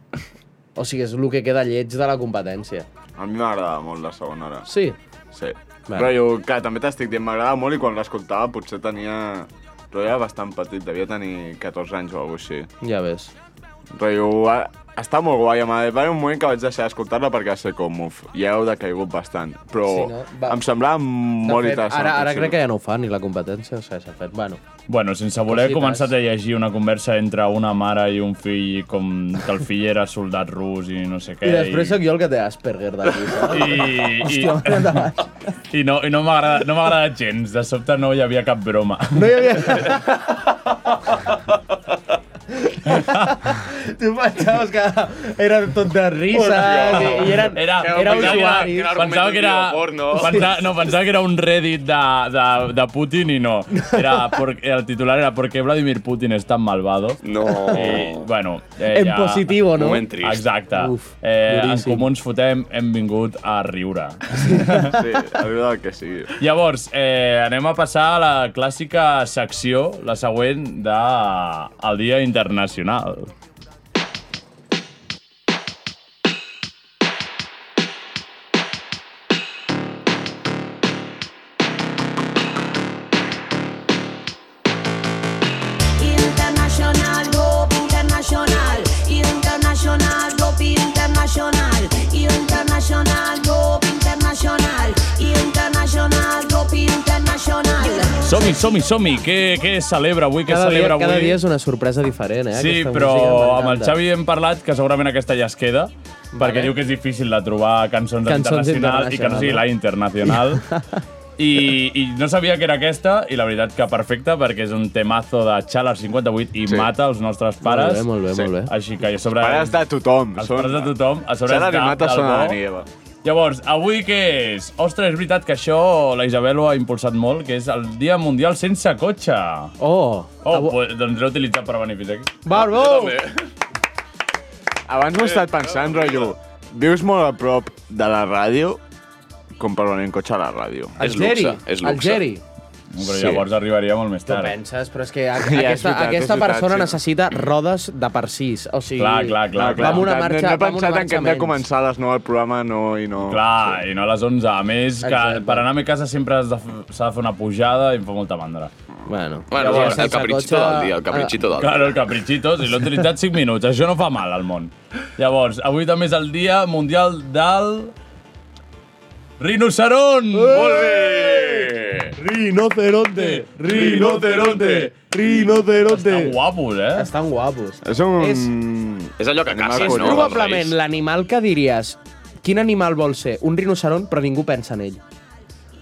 Speaker 8: O sigui, és el que queda lleig de la competència.
Speaker 3: A mi m'agradava molt la segona hora.
Speaker 8: Sí.
Speaker 3: Sí.
Speaker 8: Vale.
Speaker 3: Però jo, clar, també t'estic dient, m'agradava molt i quan l'escoltava potser tenia... Però era bastant petit, devia tenir 14 anys o alguna cosa així.
Speaker 8: Ja ves.
Speaker 3: Però jo, a- està molt guai, va haver un moment que vaig deixar d'escoltar-la perquè va ser com, uf, ja heu decaigut bastant. Però
Speaker 8: Sí,
Speaker 3: sí,
Speaker 8: no?
Speaker 3: no?
Speaker 8: Va-
Speaker 3: va... em semblava
Speaker 8: De
Speaker 3: molt
Speaker 8: fet,
Speaker 3: interessant.
Speaker 8: ara, ara crec que ja no ho fa, ni la competència, o sigui, s'ha fet... Bueno,
Speaker 2: Bueno, sense voler, he
Speaker 8: Cosites.
Speaker 2: començat a llegir una conversa entre una mare i un fill, com que el fill era soldat rus i no sé què.
Speaker 8: i després sóc jo el que té Asperger d'aquí, saps?
Speaker 2: I, i,
Speaker 8: Hòstia, endavant.
Speaker 2: i no, i no m'ha agradat, no m'ha agradat gens. De sobte no hi havia cap broma.
Speaker 8: No hi havia... tu pensaves que era tot de rises i, i eren,
Speaker 2: Era,
Speaker 8: era
Speaker 2: pensava que era,
Speaker 8: usuaris.
Speaker 2: pensava que era,
Speaker 9: Porno.
Speaker 2: pensava, no, pensava que era un Reddit de, de, de Putin i no. Era por, el titular era ¿Por qué Vladimir Putin es tan malvado?
Speaker 9: No.
Speaker 2: I, bueno, eh,
Speaker 8: En
Speaker 2: ja-
Speaker 8: positivo, no?
Speaker 9: Moment trist.
Speaker 2: Exacte.
Speaker 8: Uf,
Speaker 2: eh, en
Speaker 8: duríssim.
Speaker 2: Comú ens fotem, hem vingut a riure.
Speaker 3: Sí, arriba del que sigui.
Speaker 2: Llavors, eh, anem a passar a la clàssica secció, la següent, de el Dia Internacional.
Speaker 7: Internacional, Bob Internacional, Internacional, Bob Internacional, Internacional, Bob Internacional, Internacional, Bob Internacional.
Speaker 2: Som-hi, som-hi, som-hi. Què, què es celebra avui? Què es
Speaker 8: Cada dia,
Speaker 2: celebra
Speaker 8: cada
Speaker 2: avui?
Speaker 8: dia és una sorpresa diferent, eh?
Speaker 2: Sí,
Speaker 8: Aquesta
Speaker 2: però
Speaker 8: música
Speaker 2: amb el
Speaker 8: m'encanta.
Speaker 2: Xavi hem parlat que segurament aquesta ja es queda, perquè diu que és difícil de trobar cançons,
Speaker 8: Cançons
Speaker 2: internacionals i que no sigui la internacional. I, I no sabia que era aquesta, i la veritat que perfecta, perquè és un temazo de Xalar 58 i sí.
Speaker 3: Sí.
Speaker 2: mata els nostres pares.
Speaker 8: Molt bé, molt bé,
Speaker 3: Sí.
Speaker 8: molt bé.
Speaker 2: Així que a sobre...
Speaker 3: Pares de tothom.
Speaker 2: Els pares de tothom, a sobre
Speaker 3: Sara
Speaker 2: els de-
Speaker 3: Animata
Speaker 2: del
Speaker 3: són a
Speaker 2: bo.
Speaker 3: la Nieva.
Speaker 2: Llavors, avui què és? Ostres, és veritat que això la Isabel ho ha impulsat molt, que és el Dia Mundial sense cotxe.
Speaker 8: Oh,
Speaker 2: Oh, pues, doncs l'he utilitzat per venir fins aquí.
Speaker 8: Barbo!
Speaker 3: Abans m'ho he estat pensant, rotllo, vius molt a prop de la ràdio com per venir en cotxe a la ràdio.
Speaker 9: Ah, És luxe, és luxe.
Speaker 8: El Geri.
Speaker 2: Però llavors arribaria molt més
Speaker 8: Tu
Speaker 2: tard.
Speaker 8: penses, però és que a,
Speaker 3: és
Speaker 8: aquesta,
Speaker 3: veritat, és
Speaker 8: aquesta
Speaker 3: veritat,
Speaker 8: persona
Speaker 3: sí.
Speaker 8: necessita rodes de per sis. O sigui,
Speaker 2: Clar, clar, clar,
Speaker 8: va amb una
Speaker 3: No,
Speaker 8: marxa,
Speaker 3: no he
Speaker 8: va amb una
Speaker 3: pensat Ah, en que
Speaker 8: marxa
Speaker 3: hem de
Speaker 8: menys.
Speaker 3: començar a les 9 el programa, no, i no...
Speaker 2: Clar, i no a les 11. A més, que
Speaker 8: Exacte.
Speaker 2: per anar a mi casa sempre has de f- s'ha de, fer una pujada i em fa molta mandra.
Speaker 8: Bueno,
Speaker 9: Bueno,
Speaker 8: Llavors,
Speaker 9: el
Speaker 8: sense
Speaker 9: capritxito
Speaker 8: cotxe-
Speaker 9: del dia, el capritxito del dia.
Speaker 2: Claro, el caprichito, si l'he utilitzat 5 minuts. Això no fa mal al món. Llavors, avui també és el dia mundial del... Rinoceron!
Speaker 3: Eh!
Speaker 2: Molt bé!
Speaker 8: Ah. Rinoceronte,
Speaker 2: Rinoceronte! Estan
Speaker 8: rinoceronte.
Speaker 2: guapos, eh?
Speaker 8: Estan guapos.
Speaker 3: És un...
Speaker 8: És-
Speaker 9: És allò que
Speaker 3: Anem a
Speaker 9: cacen,
Speaker 3: conyar.
Speaker 9: no? Em
Speaker 8: Probablement l'animal que diries quin animal vol ser? Un rinoceron, però ningú pensa en ell.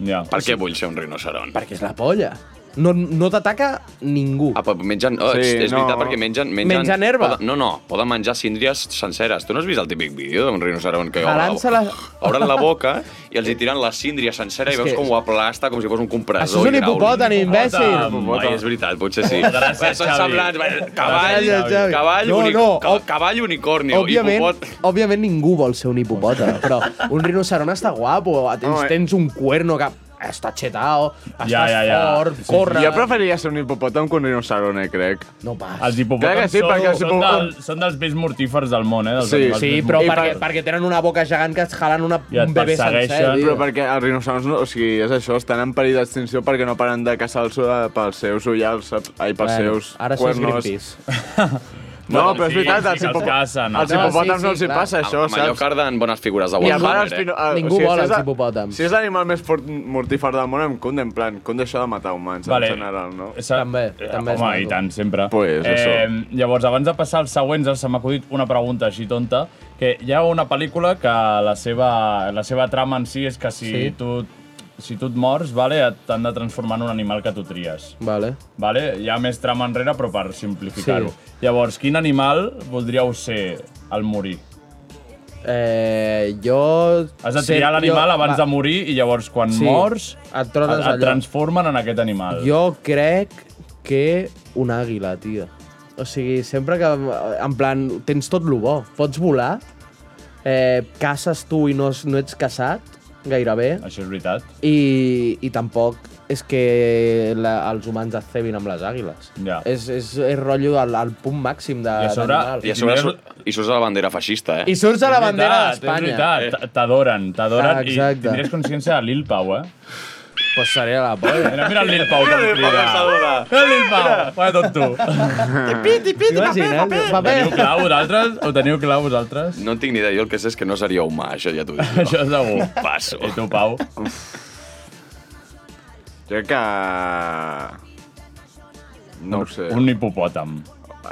Speaker 2: Ja.
Speaker 9: Per què vull ser un rinoceron?
Speaker 8: Perquè és la polla. No, no t'ataca ningú.
Speaker 9: Ah, però mengen... Oh,
Speaker 3: Sí,
Speaker 9: sí, és
Speaker 3: no.
Speaker 9: veritat, perquè mengen... Mengen,
Speaker 8: Mengen herba.
Speaker 9: Poden, no, no, poden menjar síndries senceres. Tu no has vist el típic vídeo d'un rinoceron que
Speaker 8: Jalant-se la-
Speaker 9: obren la boca i els hi tiren la síndria sencera
Speaker 8: És
Speaker 9: i veus
Speaker 8: que-
Speaker 9: com ho aplasta com si fos un compressor.
Speaker 8: Això és un
Speaker 9: hidràulic.
Speaker 8: hipopòtam, imbècil!
Speaker 2: Hipopòtam.
Speaker 9: Ai, és veritat, potser sí.
Speaker 2: Gràcies,
Speaker 9: Bé, Són
Speaker 2: Xavi.
Speaker 9: semblants. bé, Cavall,
Speaker 8: Gràcies, Xavi.
Speaker 9: cavall,
Speaker 8: No,
Speaker 9: uni-
Speaker 8: no,
Speaker 9: ca-
Speaker 8: ob-
Speaker 9: cavall unicornio.
Speaker 8: Òbviament,
Speaker 9: hipopot-
Speaker 8: òbviament ningú vol ser un hipopòtam, però un rinoceron està guapo, tens,
Speaker 3: No, eh.
Speaker 8: tens un cuerno que està xetao, estàs
Speaker 2: Ja, ja, ja.
Speaker 8: fort,
Speaker 2: Sí, sí.
Speaker 8: corre...
Speaker 3: Jo preferiria ser un hipopòtam que un rinoceron, eh, crec.
Speaker 8: No
Speaker 2: Els
Speaker 8: pas.
Speaker 3: Clar que
Speaker 2: hipopòtams
Speaker 3: sí, perquè
Speaker 2: són,
Speaker 3: els
Speaker 2: són,
Speaker 3: hipopòtams-
Speaker 2: del, són dels més mortífers del món, eh? Dels
Speaker 3: Sí,
Speaker 2: animals
Speaker 8: Sí,
Speaker 2: més
Speaker 8: però
Speaker 3: I
Speaker 2: mortífers.
Speaker 8: perquè,
Speaker 3: per-
Speaker 8: perquè tenen una boca gegant que es jalen una,
Speaker 2: I et
Speaker 8: un bebè sencer.
Speaker 2: persegueixen.
Speaker 8: tio.
Speaker 3: Però perquè els rinocerons, no, o sigui, és això, estan en perill d'extinció perquè no paren de caçar el so pels seus ullals, saps? ai, pels
Speaker 8: Bueno,
Speaker 3: seus
Speaker 8: ara això és
Speaker 3: cuernos.
Speaker 8: Greenpeace.
Speaker 3: No,
Speaker 2: Bueno,
Speaker 3: però és
Speaker 2: sí, sí
Speaker 3: veritat, els,
Speaker 2: que els
Speaker 3: hipopo-
Speaker 2: cacen,
Speaker 3: els
Speaker 8: no?
Speaker 3: hipopòtams
Speaker 8: Sí, sí,
Speaker 3: no els hi
Speaker 8: clar.
Speaker 3: passa això,
Speaker 9: Amb allò
Speaker 3: saps?
Speaker 9: carden bones figures de
Speaker 3: I
Speaker 9: Wonder
Speaker 3: a part, els
Speaker 9: Woman, eh?
Speaker 3: pino... eh,
Speaker 8: Ningú vol
Speaker 3: si és
Speaker 8: els
Speaker 3: la-
Speaker 8: hipopòtams.
Speaker 3: Si és l'animal més fort, mortífer del món, em conde, en plan, conde això de matar humans,
Speaker 2: Vale.
Speaker 3: en general, no?
Speaker 2: Sa-
Speaker 8: També,
Speaker 2: eh,
Speaker 8: també és
Speaker 2: Home,
Speaker 8: maco.
Speaker 2: i tant, sempre. Eh,
Speaker 3: Pues, això.
Speaker 2: llavors, abans de passar als següents, se m'ha acudit una pregunta així tonta, que hi ha una pel·lícula que la seva, la seva trama en si és que si
Speaker 8: Sí.
Speaker 2: tu si tu et mors, vale, et- t'han de transformar en un animal que tu tries.
Speaker 8: Vale.
Speaker 2: Vale? Hi ha més trama enrere, però per simplificar-ho. Llavors, quin animal voldríeu ser al morir?
Speaker 8: Eh, jo...
Speaker 2: Has de
Speaker 8: ser-
Speaker 2: triar l'animal
Speaker 8: jo-
Speaker 2: abans
Speaker 8: va,
Speaker 2: de morir i llavors quan
Speaker 8: Sí,
Speaker 2: mors
Speaker 8: et trones
Speaker 2: et, et
Speaker 8: allò.
Speaker 2: transformen en aquest animal.
Speaker 8: Jo crec que un àguila, tio. O sigui, sempre que, en plan, tens tot lo bo. Pots volar, eh, caces tu i no, es- no ets caçat, gairebé,
Speaker 2: Això és veritat.
Speaker 8: i, i tampoc és que la, els humans es cebin amb les àguiles.
Speaker 2: Ja.
Speaker 8: És, és, és rotllo al, al punt màxim de
Speaker 2: I a sobre-
Speaker 8: d'animal.
Speaker 9: I a sobre sur- i surts a la bandera feixista, eh?
Speaker 8: I surts a la bandera
Speaker 2: És veritat,
Speaker 8: d'Espanya.
Speaker 2: És veritat, t'adoren, t'adoren
Speaker 8: Ah,
Speaker 2: i
Speaker 8: exacte.
Speaker 2: tindries consciència de Lil Pau, eh?
Speaker 8: Pues seria la polla.
Speaker 2: Mira, mira el Lil Pau com crida. Mira el Lil Pau, fa tonto.
Speaker 8: T'imagines?
Speaker 2: Ho teniu clar vosaltres? Ho teniu clar vosaltres?
Speaker 9: No en tinc ni idea, jo el que sé és que no seria humà, això ja t'ho dic. jo.
Speaker 2: Això segur.
Speaker 9: Passo.
Speaker 2: I tu, Pau?
Speaker 3: Jo crec que... No ho sé.
Speaker 2: Un hipopòtam.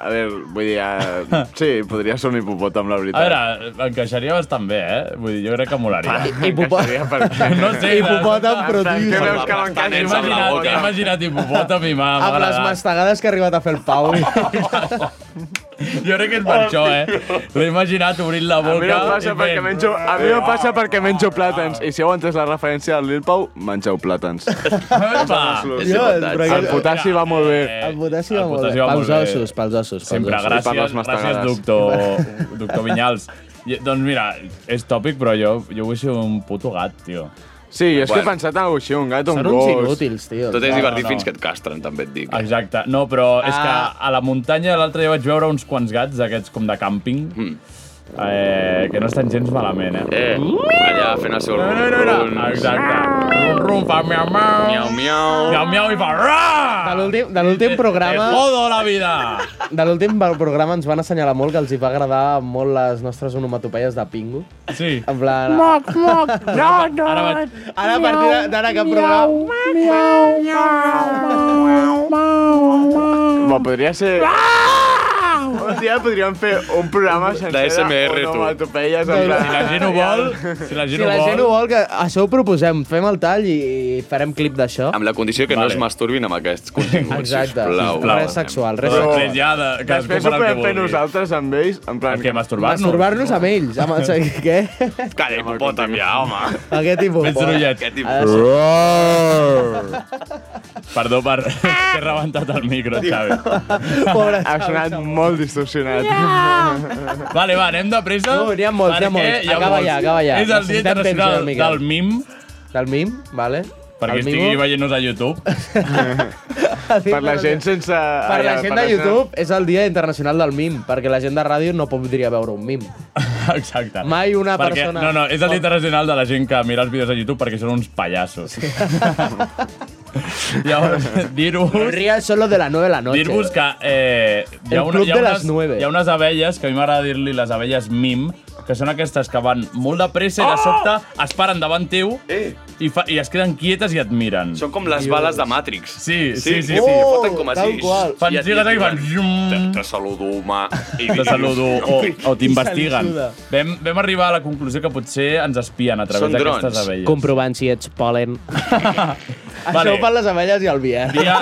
Speaker 3: A veure, vull dir... eh, Sí, podria ser un hipopòtam, la
Speaker 2: A
Speaker 3: veritat.
Speaker 2: veure, encaixaria bastant bé, eh? Vull dir, jo crec que molaria.
Speaker 8: Ah. Hipopòtam.
Speaker 2: No sé,
Speaker 8: Hipopòtam, però
Speaker 3: Què
Speaker 8: tio.
Speaker 3: veus que m'encaixi?
Speaker 9: Bastant,
Speaker 3: amb
Speaker 9: amb
Speaker 3: la
Speaker 9: la
Speaker 2: Imaginat,
Speaker 9: boca.
Speaker 3: boca?
Speaker 2: he imaginat hipopòtam i m'ha m'ha
Speaker 8: Amb les
Speaker 2: agradat.
Speaker 8: mastegades que ha arribat a fer el Pau.
Speaker 2: Jo crec que és per això, eh? L'he imaginat obrint la
Speaker 3: A
Speaker 2: boca.
Speaker 3: mi no passa
Speaker 2: i
Speaker 3: perquè
Speaker 2: fent-
Speaker 3: menjo, a mi no passa perquè menjo plàtans. I si heu entès la referència del Lil Pau, mengeu plàtans.
Speaker 2: Epa!
Speaker 9: És
Speaker 8: Dios,
Speaker 9: igualtat.
Speaker 8: però
Speaker 3: El potassi va molt bé.
Speaker 9: eh,
Speaker 8: El potassi
Speaker 2: El
Speaker 8: va molt bé.
Speaker 2: potassi va molt
Speaker 8: Pels
Speaker 2: bé.
Speaker 8: ossos, pels ossos. pels
Speaker 2: Sempre,
Speaker 8: ossos.
Speaker 3: I per
Speaker 2: gràcies,
Speaker 3: Doncs les
Speaker 2: gràcies,
Speaker 3: mastegades.
Speaker 2: doctor, doctor Vinyals. I, doncs mira, és tòpic, però jo, jo vull ser un puto gat, tio.
Speaker 3: Sí, jo és que he
Speaker 9: Bueno.
Speaker 3: pensat en així, un gat o un
Speaker 8: Són uns
Speaker 3: gos.
Speaker 8: inútils, tio.
Speaker 9: Tot és divertit
Speaker 2: no.
Speaker 9: fins que et castren, també et dic.
Speaker 2: Exacte. No, però és que
Speaker 8: Ah.
Speaker 2: a la muntanya l'altre dia vaig veure uns quants gats d'aquests com de càmping,
Speaker 3: Mm.
Speaker 2: eh, que no estan gens malament, eh?
Speaker 9: Eh, allà fent el seu
Speaker 2: No, no, no,
Speaker 3: Doncs-
Speaker 2: no. Exacte. Un rum fa miau, miau.
Speaker 9: Miau, miau.
Speaker 2: Miau, miau i fa...
Speaker 8: De
Speaker 2: Ra!
Speaker 8: l'últim- De l'últim programa,
Speaker 2: Te jodo la vida!
Speaker 8: de l'últim programa ens van assenyalar molt que els hi va agradar molt les nostres onomatopeies de pingo.
Speaker 2: Sí.
Speaker 8: En plan... Moc,
Speaker 2: Ara vaig...
Speaker 8: ara a partir de- d'ara cap programa...
Speaker 3: Bo, podria ser...
Speaker 2: Ah!
Speaker 3: Un dia podríem fer un programa sencer
Speaker 9: ASMR, tu.
Speaker 3: onomatopeies.
Speaker 8: No,
Speaker 3: En
Speaker 8: no.
Speaker 3: plan...
Speaker 2: Si la gent ho vol, si la
Speaker 8: Si
Speaker 2: gent,
Speaker 8: la gent ho
Speaker 2: ho vol...
Speaker 8: vol, que això ho proposem. Fem el tall i i farem clip d'això.
Speaker 9: Amb la condició que
Speaker 2: Vale.
Speaker 9: no es masturbin amb aquests continguts,
Speaker 8: Exacte.
Speaker 9: sisplau.
Speaker 8: Res sexual, res
Speaker 2: Però
Speaker 8: sexual.
Speaker 2: després ja de, cadascú
Speaker 3: Després ho
Speaker 2: farà el que
Speaker 3: podem fer
Speaker 2: vulgui.
Speaker 3: nosaltres amb ells, en plan...
Speaker 2: Perquè masturbar-nos.
Speaker 8: Masturbar-nos amb ells. Amb, o sigui, què?
Speaker 9: Calla, hipopòtam, ja, home.
Speaker 8: Aquest tipus.
Speaker 2: Fes sorollet.
Speaker 9: Aquest tipus.
Speaker 2: Perdó per... que he rebentat el micro, Xavi.
Speaker 8: Pobre
Speaker 3: Ha sonat molt distorsionat.
Speaker 2: Vale, va, anem de pressa.
Speaker 8: No, n'hi ha molts, n'hi
Speaker 2: perquè
Speaker 8: ha molts.
Speaker 2: hi ha
Speaker 8: Acaba
Speaker 2: molts.
Speaker 8: ja, acaba ja.
Speaker 2: És el Dia
Speaker 8: Necessitem temps,
Speaker 2: Internacional
Speaker 8: Miguel.
Speaker 2: del Mim.
Speaker 8: Del mim, vale?
Speaker 2: Perquè
Speaker 8: El
Speaker 2: estigui
Speaker 8: Mingo-
Speaker 2: veient-nos a YouTube.
Speaker 3: Per la gent sense...
Speaker 2: Ah,
Speaker 8: Per la gent de YouTube és el dia internacional del mim, perquè la gent de ràdio no podria veure un mim.
Speaker 2: Exacte.
Speaker 8: Mai una
Speaker 2: perquè,
Speaker 8: persona-
Speaker 2: No, no, és el dia internacional de la gent que mira els vídeos a YouTube perquè són uns pallassos. Llavors, dir-vos...
Speaker 8: Los ríos son los de las 9 de la noche.
Speaker 2: Dir-vos que eh, hi, ha
Speaker 8: El
Speaker 2: una,
Speaker 8: club
Speaker 2: hi, ha
Speaker 8: de les
Speaker 2: unes,
Speaker 8: nueve.
Speaker 2: hi ha unes abelles, que a mi m'agrada dir-li les abelles mim, que són aquestes que van molt de pressa i
Speaker 9: Ah!
Speaker 2: de sobte es paren davant teu
Speaker 9: Eh.
Speaker 2: i, fa, i es queden quietes i et miren.
Speaker 9: Són com les bales de Matrix.
Speaker 2: Sí, sí, sí, sí.
Speaker 9: que Foten com
Speaker 8: Oh, Tal
Speaker 9: així.
Speaker 8: qual.
Speaker 2: Fan
Speaker 9: I et-
Speaker 2: gires
Speaker 9: et
Speaker 2: i fan
Speaker 9: diuen,
Speaker 2: llum.
Speaker 9: Te, te saludo, home. I
Speaker 2: Te
Speaker 9: dius,
Speaker 2: saludo o, o
Speaker 8: I
Speaker 2: t'investiguen.
Speaker 8: se li suda.
Speaker 2: Vam, vam arribar a la conclusió que potser ens espien a través
Speaker 9: Són
Speaker 2: d'aquestes
Speaker 9: drons.
Speaker 2: abelles.
Speaker 8: Comprovant si ets polen. Això ho fan les abelles i el vi, eh?
Speaker 2: Dia...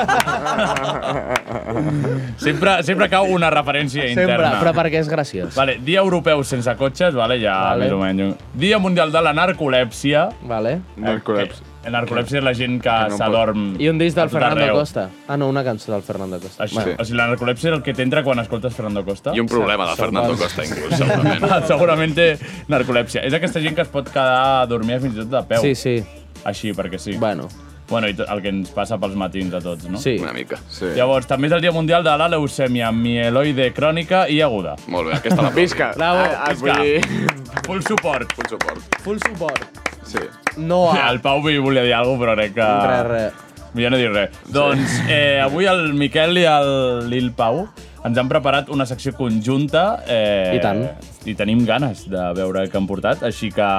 Speaker 2: sempre, sempre cau una referència
Speaker 8: Sempre,
Speaker 2: interna.
Speaker 8: però perquè és graciós.
Speaker 2: Vale, Dia Europeu sense cotxes, vale, ja
Speaker 8: Vale.
Speaker 2: més o menys. Dia Mundial de la Narcolèpsia.
Speaker 8: Vale.
Speaker 3: Narcolepsia.
Speaker 2: Eh, La narcolèpsia és la gent que
Speaker 3: no
Speaker 2: s'adorm
Speaker 8: I un disc
Speaker 2: a
Speaker 8: del
Speaker 2: tot
Speaker 8: Fernando
Speaker 2: arreu.
Speaker 8: Costa. Ah, no, una cançó del Fernando Costa.
Speaker 2: Això, sí. O sigui, la narcolèpsia és el que t'entra quan escoltes Fernando Costa.
Speaker 9: I un problema de Fernando Costa, inclús, segurament.
Speaker 2: Segurament té narcolèpsia. És aquesta gent que es pot quedar a dormir fins i tot de peu.
Speaker 8: Sí, sí.
Speaker 2: Així, perquè sí.
Speaker 8: Bueno,
Speaker 2: bueno i tot el que ens passa pels matins a tots, no?
Speaker 8: sí.
Speaker 9: Una mica.
Speaker 3: Sí.
Speaker 2: Llavors, també és el Dia Mundial de la leucèmia mieloide crònica i aguda.
Speaker 9: Molt bé, aquesta la
Speaker 3: Visca.
Speaker 8: Bravo,
Speaker 3: Ah, ah,
Speaker 2: visca.
Speaker 3: vull dir...
Speaker 2: Full suport.
Speaker 9: Un suport.
Speaker 8: Full suport.
Speaker 3: Sí.
Speaker 8: No a...
Speaker 2: El Pau vi volia dir alguna cosa, però crec que...
Speaker 8: Res, res.
Speaker 2: Millor no dir res. Doncs eh, avui el Miquel i el Lil Pau ens han preparat una secció conjunta. Eh,
Speaker 8: I tant.
Speaker 2: I tenim ganes de veure què han portat, així que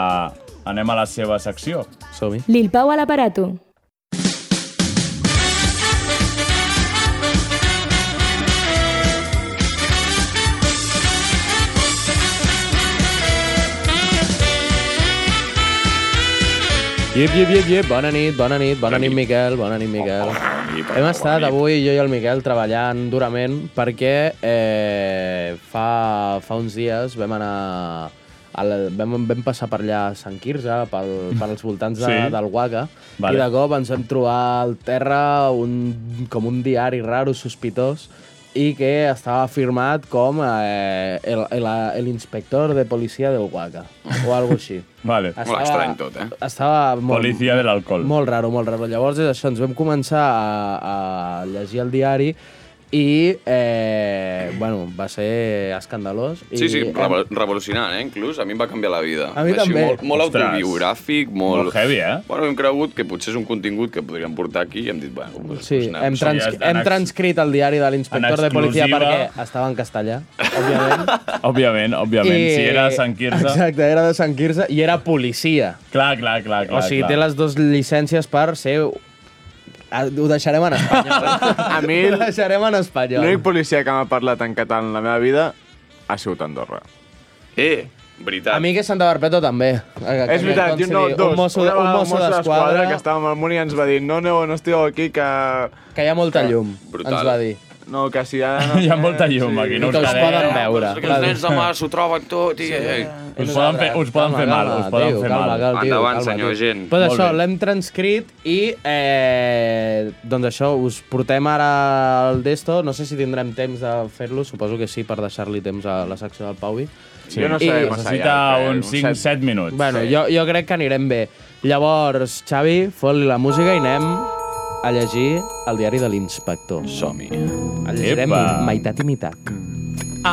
Speaker 2: anem a la seva secció.
Speaker 8: Som-hi.
Speaker 6: Lil Pau a l'aparato.
Speaker 8: Iep, iep, iep, iep. Bona nit, bona nit, bona nit, Miquel, bona nit, Miquel. Hem estat avui, jo i el Miquel, treballant durament perquè eh, fa, fa uns dies vam anar... A la, vam, vam passar per allà a Sant Quirze, pel, pels voltants de,
Speaker 2: Sí.
Speaker 8: Mm. sí. del Guaca,
Speaker 2: Vale.
Speaker 8: vale. i de cop ens vam trobar al terra un, com un diari raro, sospitós, i que estava firmat com eh, el, el, el inspector de policia del Guaca, o alguna així.
Speaker 2: Vale.
Speaker 9: Molt estrany tot, eh?
Speaker 8: Estava molt...
Speaker 2: Policia de l'alcohol.
Speaker 8: Molt raro, molt raro. Llavors, és això, ens vam començar a, a llegir el diari i, eh, bueno, va ser escandalós. I,
Speaker 9: Sí, sí, revo- revolucionant, eh, inclús. A mi em va canviar la vida.
Speaker 8: A mi
Speaker 9: Va ser
Speaker 8: també.
Speaker 9: Molt, molt
Speaker 2: Ostres.
Speaker 9: autobiogràfic, molt...
Speaker 2: Molt heavy, eh?
Speaker 9: Bueno, hem cregut que potser és un contingut que podríem portar aquí i hem dit, bueno, doncs,
Speaker 8: Sí,
Speaker 9: doncs
Speaker 8: hem, trans
Speaker 2: Sí, en
Speaker 8: hem
Speaker 2: ex-
Speaker 8: transcrit el diari de
Speaker 2: en
Speaker 8: l'inspector de policia
Speaker 2: exclusiva.
Speaker 8: perquè estava en castellà, òbviament.
Speaker 2: Òbviament, òbviament. I... Si era de Sant Quirze...
Speaker 8: Exacte, era de Sant Quirze i era policia.
Speaker 2: Clar, clar, clar, clar.
Speaker 8: o sigui,
Speaker 2: clar.
Speaker 8: té les dues llicències per ser... Ah, Ho deixarem en espanyol.
Speaker 3: A mi,
Speaker 8: Ho deixarem en espanyol.
Speaker 3: l'únic policia que m'ha parlat en català en la meva vida ha sigut Andorra.
Speaker 9: Eh, veritat.
Speaker 8: A mi que Santa Barpeto també. Eh,
Speaker 3: És veritat, jo no, dos.
Speaker 8: Un mosso,
Speaker 3: Una
Speaker 8: un
Speaker 3: vegada
Speaker 8: mosso d'esquadra
Speaker 3: que estàvem al Muni ens va dir no, no, no esteu aquí, que...
Speaker 8: que hi ha molta llum,
Speaker 9: Brutal.
Speaker 8: ens va dir.
Speaker 3: No, que si ara... No,
Speaker 2: Hi ha molta llum aquí, no
Speaker 8: I que
Speaker 2: us
Speaker 8: us poden
Speaker 2: quedeu.
Speaker 8: veure.
Speaker 9: Que els nens demà s'ho troben tot i... eh, Sí.
Speaker 2: Us poden fer, us poden fer mal, us poden fer mal.
Speaker 9: Endavant, senyor agent.
Speaker 8: Però
Speaker 2: Molt
Speaker 8: això,
Speaker 2: bé.
Speaker 8: l'hem transcrit i, eh, doncs això, us portem ara al Desto. No sé si tindrem temps de fer-lo, suposo que sí, per deixar-li temps a la secció del Pauvi.
Speaker 3: Jo no
Speaker 8: Sí.
Speaker 3: sé
Speaker 8: I
Speaker 3: massa
Speaker 2: Necessita
Speaker 3: llarg, eh,
Speaker 2: uns 5-7 minuts.
Speaker 8: Bueno, jo, jo crec que anirem bé. Llavors, Xavi, fot-li la música i anem a llegir el diari de l'inspector.
Speaker 9: Som-hi.
Speaker 8: El llegirem
Speaker 2: Epa.
Speaker 8: meitat i meitat.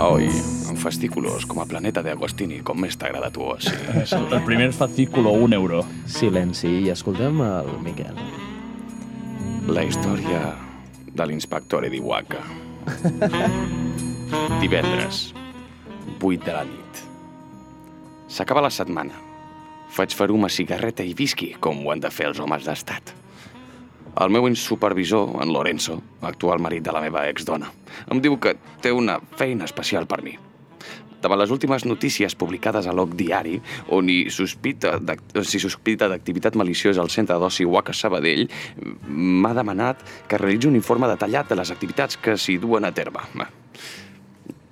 Speaker 9: Oi, en fastículos, com a planeta de Agostini, com més t'agrada tu, sí.
Speaker 2: El primer fascículo, un euro.
Speaker 8: Silenci i escoltem el Miquel.
Speaker 9: La història de l'inspector Ediwaka. Divendres, 8 de la nit. S'acaba la setmana. Faig faruma, cigarreta i whisky, com ho han de fer els homes d'estat. El meu supervisor, en Lorenzo, actual marit de la meva exdona, em diu que té una feina especial per mi. Davant les últimes notícies publicades a l'Oc Diari, on hi sospita d'ac- o s'hi sospita d'activitat maliciosa al centre d'oci Waka Sabadell, m'ha demanat que realitzi un informe detallat de les activitats que s'hi duen a terme.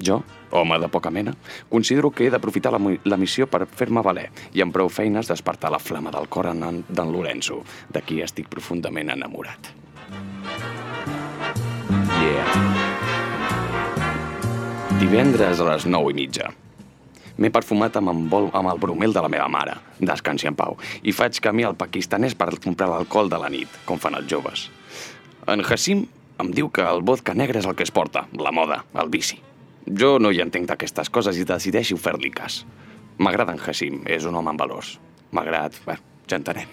Speaker 9: Jo, home de poca mena, considero que he d'aprofitar la, mi- la missió per fer-me valer i amb prou feines despertar la flama del cor en en d'en Lorenzo, de qui estic profundament enamorat. Yeah. Divendres a les 9 i mitja. M'he perfumat amb, embol, amb el bromel de la meva mare, descansi en pau, i faig camí al pakistanès per comprar l'alcohol de la nit, com fan els joves. En Hassim em diu que el vodka negre és el que es porta, la moda, el vici. Jo no hi entenc d'aquestes coses i decideixo fer-li cas. M'agrada en Hassim, és un home amb valors. M'agrada, bé, ja entenem.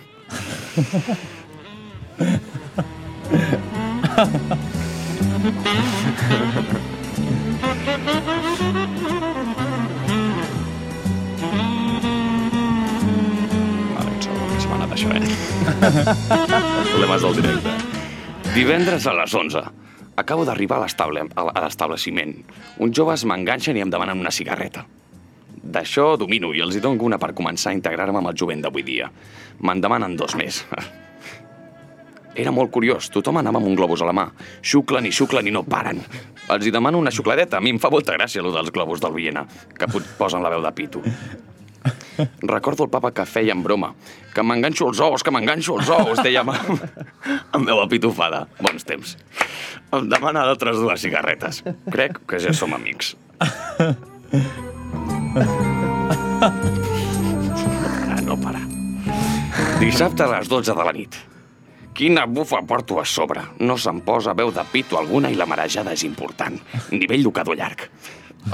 Speaker 9: Ara ets segur que se m'ha anat això, eh? Problemes del directe. Divendres a les 11. Acabo d'arribar a l'estable- a l- a l'estableixement. Uns joves m'enganxen i em demanen una cigarreta. D'això domino i els hi dono una per començar a integrar-me amb el jovent d'avui dia. Me'n demanen dos més. Era molt curiós, tothom anava amb un globus a la mà. Xuclen i xuclen i no paren. Els hi demano una xucladeta, a mi em fa molta gràcia allò dels globus del Viena, que pot posen la veu de pito. Recordo el papa que feia en broma. Que m'enganxo els ous, que m'enganxo els ous, deia amb, amb veu apitufada. Bons temps. Em demana d'altres dues cigarretes. Crec que ja som amics. Ah, no para. Dissabte a les 12 de la nit. Quina bufa porto a sobre. No se'n posa veu de pito alguna i la marejada és important. Nivell locador llarg.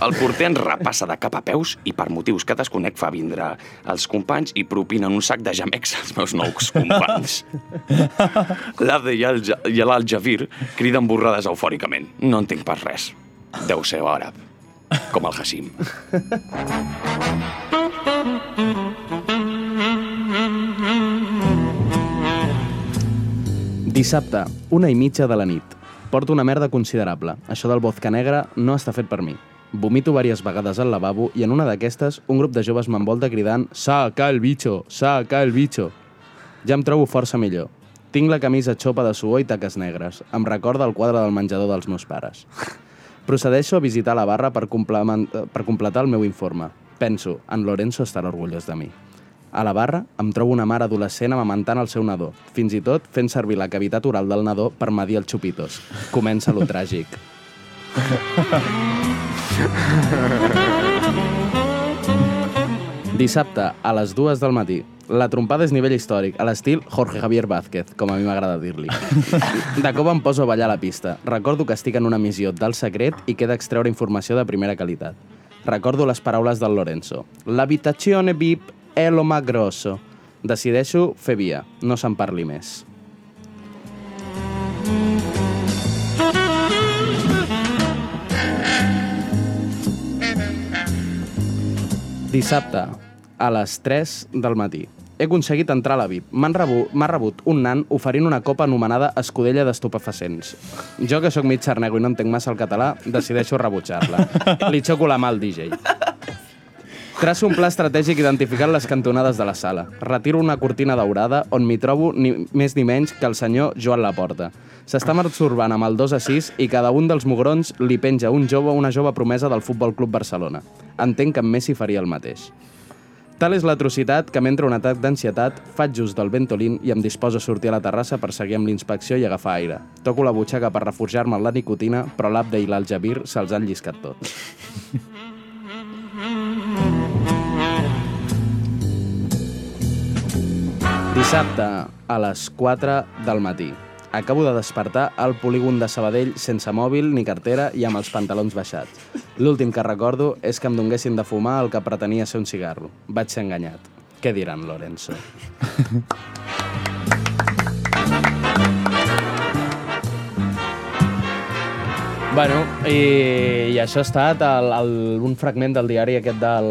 Speaker 9: El porter ens repassa de cap a peus i per motius que desconec fa vindre els companys i propinen un sac de jamecs als meus nous companys. L'Ade i el Ja- i l'Aljavir criden borrades eufòricament. No entenc pas res. Deu ser àrab, com el Hassim.
Speaker 8: Dissabte, una i mitja de la nit. Porto una merda considerable. Això del vodka negre no està fet per mi. Vomito diverses vegades al lavabo i en una d'aquestes un grup de joves m'envolta cridant «Saca el bicho! Saca el bicho!». Ja em trobo força millor. Tinc la camisa xopa de suor i taques negres. Em recorda el quadre del menjador dels meus pares. Procedeixo a visitar la barra per, complement- eh, per completar el meu informe. Penso, en Lorenzo estarà orgullós de mi. A la barra em trobo una mare adolescent amamentant el seu nadó, fins i tot fent servir la cavitat oral del nadó per medir els xupitos. Comença lo tràgic. Dissabte, a les dues del matí. La trompada és nivell històric, a l'estil Jorge Javier Vázquez, com a mi m'agrada dir-li. De cop em poso a ballar a la pista. Recordo que estic en una missió del secret i que he d'extreure informació de primera qualitat. Recordo les paraules del Lorenzo. L'habitazione VIP è lo más grosso. Decideixo fer via, no se'n parli més. Dissabte, a les 3 del matí. He aconseguit entrar a la VIP. M'han rebu- M'ha rebut un nan oferint una copa anomenada escudella d'estupefacents. Jo, que sóc mig xarnego i no entenc massa el català, decideixo rebutjar-la. Li xoco la mà al DJ. Traço un pla estratègic identificant les cantonades de la sala. Retiro una cortina daurada on m'hi trobo ni més ni menys que el senyor Joan Laporta. S'està masturbant amb el 2 a 6 i cada un dels mugrons li penja un jove o una jove promesa del Futbol Club Barcelona. Entenc que en Messi faria el mateix. Tal és l'atrocitat que m'entra un atac d'ansietat, faig just del ventolín i em disposo a sortir a la terrassa per seguir amb l'inspecció i agafar aire. Toco la butxaca per refugiar-me en la nicotina, però l'Abde i l'Aljabir se'ls han lliscat tots. Dissabte, a les 4 del matí. Acabo de despertar al polígon de Sabadell sense mòbil ni cartera i amb els pantalons baixats. L'últim que recordo és que em donguessin de fumar el que pretenia ser un cigarro. Vaig ser enganyat. Què diran, Lorenzo? Bueno, i, i això ha estat el, el, un fragment del diari aquest del,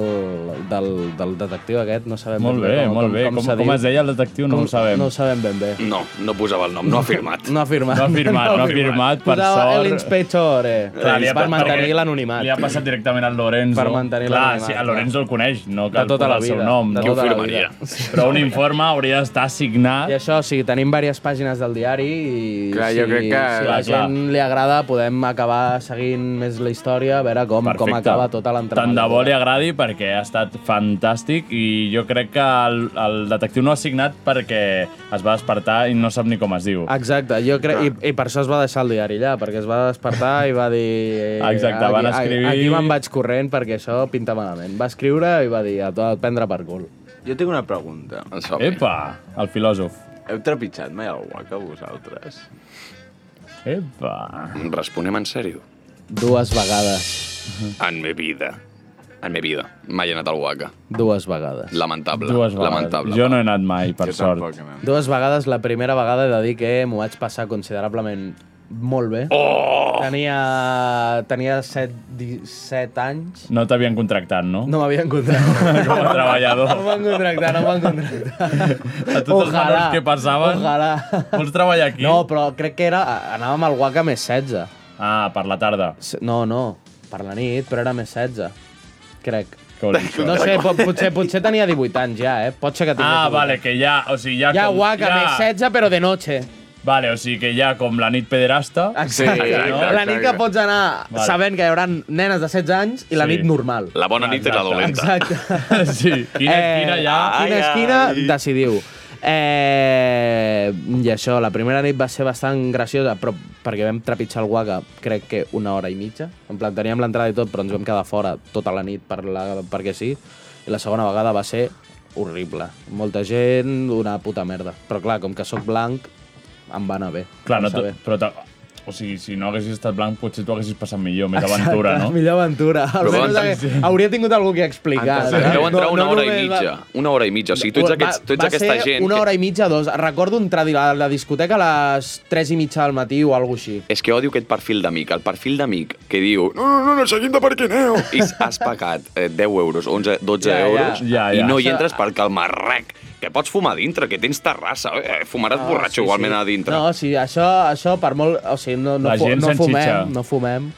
Speaker 8: del, del detectiu aquest, no sabem
Speaker 2: Molt
Speaker 8: ben
Speaker 2: bé,
Speaker 8: com,
Speaker 2: molt bé.
Speaker 8: com,
Speaker 2: Com,
Speaker 8: s'ha
Speaker 2: com,
Speaker 8: dit.
Speaker 2: es deia el detectiu, no
Speaker 8: Com-
Speaker 2: ho sabem.
Speaker 8: No ho sabem ben bé.
Speaker 9: No, no posava el nom, no ha firmat.
Speaker 8: No ha firmat.
Speaker 2: No ha firmat, no ha firmat, per
Speaker 8: Posava
Speaker 2: sort.
Speaker 8: l'inspectore.
Speaker 2: Clar, li ha
Speaker 8: Per
Speaker 2: pas-
Speaker 8: mantenir
Speaker 2: perquè
Speaker 8: l'anonimat.
Speaker 2: Li ha passat directament al Lorenzo.
Speaker 8: Per mantenir
Speaker 2: Clar,
Speaker 8: l'anonimat,
Speaker 2: sí,
Speaker 8: clar.
Speaker 2: el Lorenzo el coneix, no
Speaker 8: De
Speaker 2: cal
Speaker 8: tota la
Speaker 2: posar el seu
Speaker 8: vida.
Speaker 2: nom.
Speaker 8: de
Speaker 2: No?
Speaker 8: tota la
Speaker 9: firmaria?
Speaker 8: vida.
Speaker 2: Però un informe hauria d'estar
Speaker 8: I
Speaker 2: signat.
Speaker 8: això, sí, tenim diverses pàgines del diari i
Speaker 3: Clar,
Speaker 8: si,
Speaker 3: jo crec que-
Speaker 8: si a la
Speaker 2: Clar, clar.
Speaker 8: gent li agrada podem acabar seguint més la història, a veure com, com acaba tota l'entrada.
Speaker 2: Tant de bo li agradi perquè ha estat fantàstic i jo crec que el, el detectiu no ha signat perquè es va despertar i no sap ni com es
Speaker 8: Ah,
Speaker 2: diu.
Speaker 8: Exacte, jo
Speaker 2: Ah.
Speaker 8: crec, i, i per això es va deixar el diari allà, perquè es va despertar i va dir... eh,
Speaker 2: Exacte, van
Speaker 8: aquí-
Speaker 2: escriure-
Speaker 8: Aquí me'n vaig corrent perquè això pinta malament. Va escriure i va dir a tot prendre per cul.
Speaker 3: Jo tinc una pregunta.
Speaker 2: Epa, el filòsof.
Speaker 3: Heu trepitjat mai el guac a vosaltres?
Speaker 2: Epa.
Speaker 9: Responem en sèrio.
Speaker 8: Dues vegades.
Speaker 9: En me vida. En me vida. Mai he anat al Waka.
Speaker 8: Dues vegades.
Speaker 9: Lamentable.
Speaker 2: Dues vegades.
Speaker 9: Lamentable.
Speaker 2: Jo no he anat mai, per
Speaker 3: Jo
Speaker 2: sort.
Speaker 3: tampoc, no.
Speaker 8: Dues vegades, la primera vegada he de dir que m'ho vaig passar considerablement molt bé.
Speaker 9: Oh!
Speaker 8: Tenia, tenia set, 17 anys.
Speaker 2: No t'havien contractat, no?
Speaker 8: No m'havien contractat.
Speaker 2: Com a treballador.
Speaker 8: No m'han contractat, no m'han contractat.
Speaker 2: A tots els menors que passaven.
Speaker 8: Ojalà.
Speaker 2: Vols treballar aquí?
Speaker 8: No, però crec que era... Anàvem al Waka més 16.
Speaker 2: Ah, per la tarda.
Speaker 8: Se- No, no, per la nit, però era més 16. Crec.
Speaker 2: Que vols dir això?
Speaker 8: No sé, po potser, potser tenia 18 anys ja, eh? Pot ser que tingués...
Speaker 2: Ah,
Speaker 8: 18.
Speaker 2: vale, que ja... O sigui, ja,
Speaker 8: Ja
Speaker 2: com,
Speaker 8: Waka més 16, però de noche.
Speaker 2: Vale, o sigui que ja com la nit pederasta...
Speaker 8: Exacte.
Speaker 9: Sí,
Speaker 8: no?
Speaker 9: exacte,
Speaker 8: La nit que
Speaker 3: exacte.
Speaker 8: pots anar
Speaker 2: Vale.
Speaker 8: sabent que hi haurà nenes de 16 anys i la
Speaker 2: Sí.
Speaker 8: nit normal.
Speaker 9: La bona nit era dolenta.
Speaker 8: Exacte. ah,
Speaker 2: Sí, quina esquina ja.
Speaker 8: Eh, Quina
Speaker 9: Ai,
Speaker 8: esquina,
Speaker 9: ai.
Speaker 8: decidiu. Eh, I això, la primera nit va ser bastant graciosa, però perquè vam trepitjar el Waka, crec que una hora i mitja. En plan, teníem l'entrada i tot, però ens vam quedar fora tota la nit per la, perquè sí. I la segona vegada va ser horrible. Molta gent, una puta merda. Però clar, com que sóc blanc, em va anar bé.
Speaker 2: Clar,
Speaker 8: Em
Speaker 2: no,
Speaker 8: va
Speaker 2: t-
Speaker 8: saber.
Speaker 2: però... ta- O sigui, si no haguessis estat blanc, potser t'ho haguessis passat millor, més aventura,
Speaker 8: Exacte,
Speaker 2: no?
Speaker 8: Millor aventura.
Speaker 9: van-
Speaker 8: Almenys hagué- hauria tingut algú que explicar.
Speaker 3: Antes de-
Speaker 8: saps?
Speaker 9: Deu entrar
Speaker 8: No-
Speaker 9: una
Speaker 8: no
Speaker 9: hora i
Speaker 8: només va-
Speaker 9: mitja. Una hora i mitja. O sigui, tu ets, aquests, tu ets
Speaker 8: va
Speaker 9: aquesta
Speaker 8: ser
Speaker 9: gent...
Speaker 8: una
Speaker 9: que-
Speaker 8: hora i mitja, dos. Recordo entrar a la, la discoteca a les 3 i mitja del matí o alguna així.
Speaker 9: És que odio aquest perfil d'amic, el perfil d'amic que diu no, no, no, no, seguim de parquineu. I has pagat eh, 10 euros, 11, 12
Speaker 8: Ja, ja.
Speaker 9: euros
Speaker 2: Ja, ja.
Speaker 9: i no hi entres perquè el marrec que pots fumar a dintre, que tens terrassa, eh? fumaràs
Speaker 8: Ah,
Speaker 9: borratxo igualment a dintre.
Speaker 8: No, sí, això, això per molt... O sigui, no, no,
Speaker 2: La
Speaker 8: fu
Speaker 2: gent
Speaker 8: no
Speaker 2: se'n
Speaker 8: fumem,
Speaker 2: xitxa.
Speaker 8: no fumem.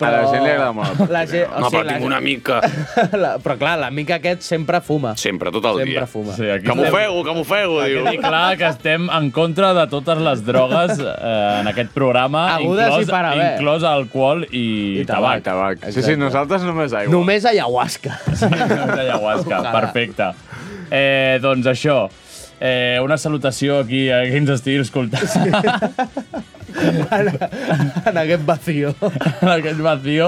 Speaker 3: A la gent li agrada molt el
Speaker 8: La gent,
Speaker 9: no,
Speaker 8: o sigui,
Speaker 9: però
Speaker 8: la
Speaker 9: tinc
Speaker 8: gent-
Speaker 9: una mica.
Speaker 8: La, però clar, l'amic aquest sempre fuma.
Speaker 9: Sempre, tot el
Speaker 8: sempre
Speaker 9: dia.
Speaker 8: fuma.
Speaker 2: Sí, aquí
Speaker 9: Que
Speaker 2: estem-
Speaker 9: m'ofego, que m'ofego, diu.
Speaker 2: I clar que estem en contra de totes les drogues eh, en aquest programa,
Speaker 8: Agudes i
Speaker 2: inclòs,
Speaker 8: per haver.
Speaker 2: inclòs alcohol i,
Speaker 8: I
Speaker 3: Tabac,
Speaker 2: tabac.
Speaker 3: tabac. Sí, sí, nosaltres només aigua.
Speaker 8: Només ayahuasca.
Speaker 2: Una ayahuasca,
Speaker 8: Ojalà.
Speaker 2: perfecte. Eh, doncs això, eh, una salutació aquí a qui ens estigui escoltant
Speaker 8: en, en aquest vacío.
Speaker 2: en aquest vacío,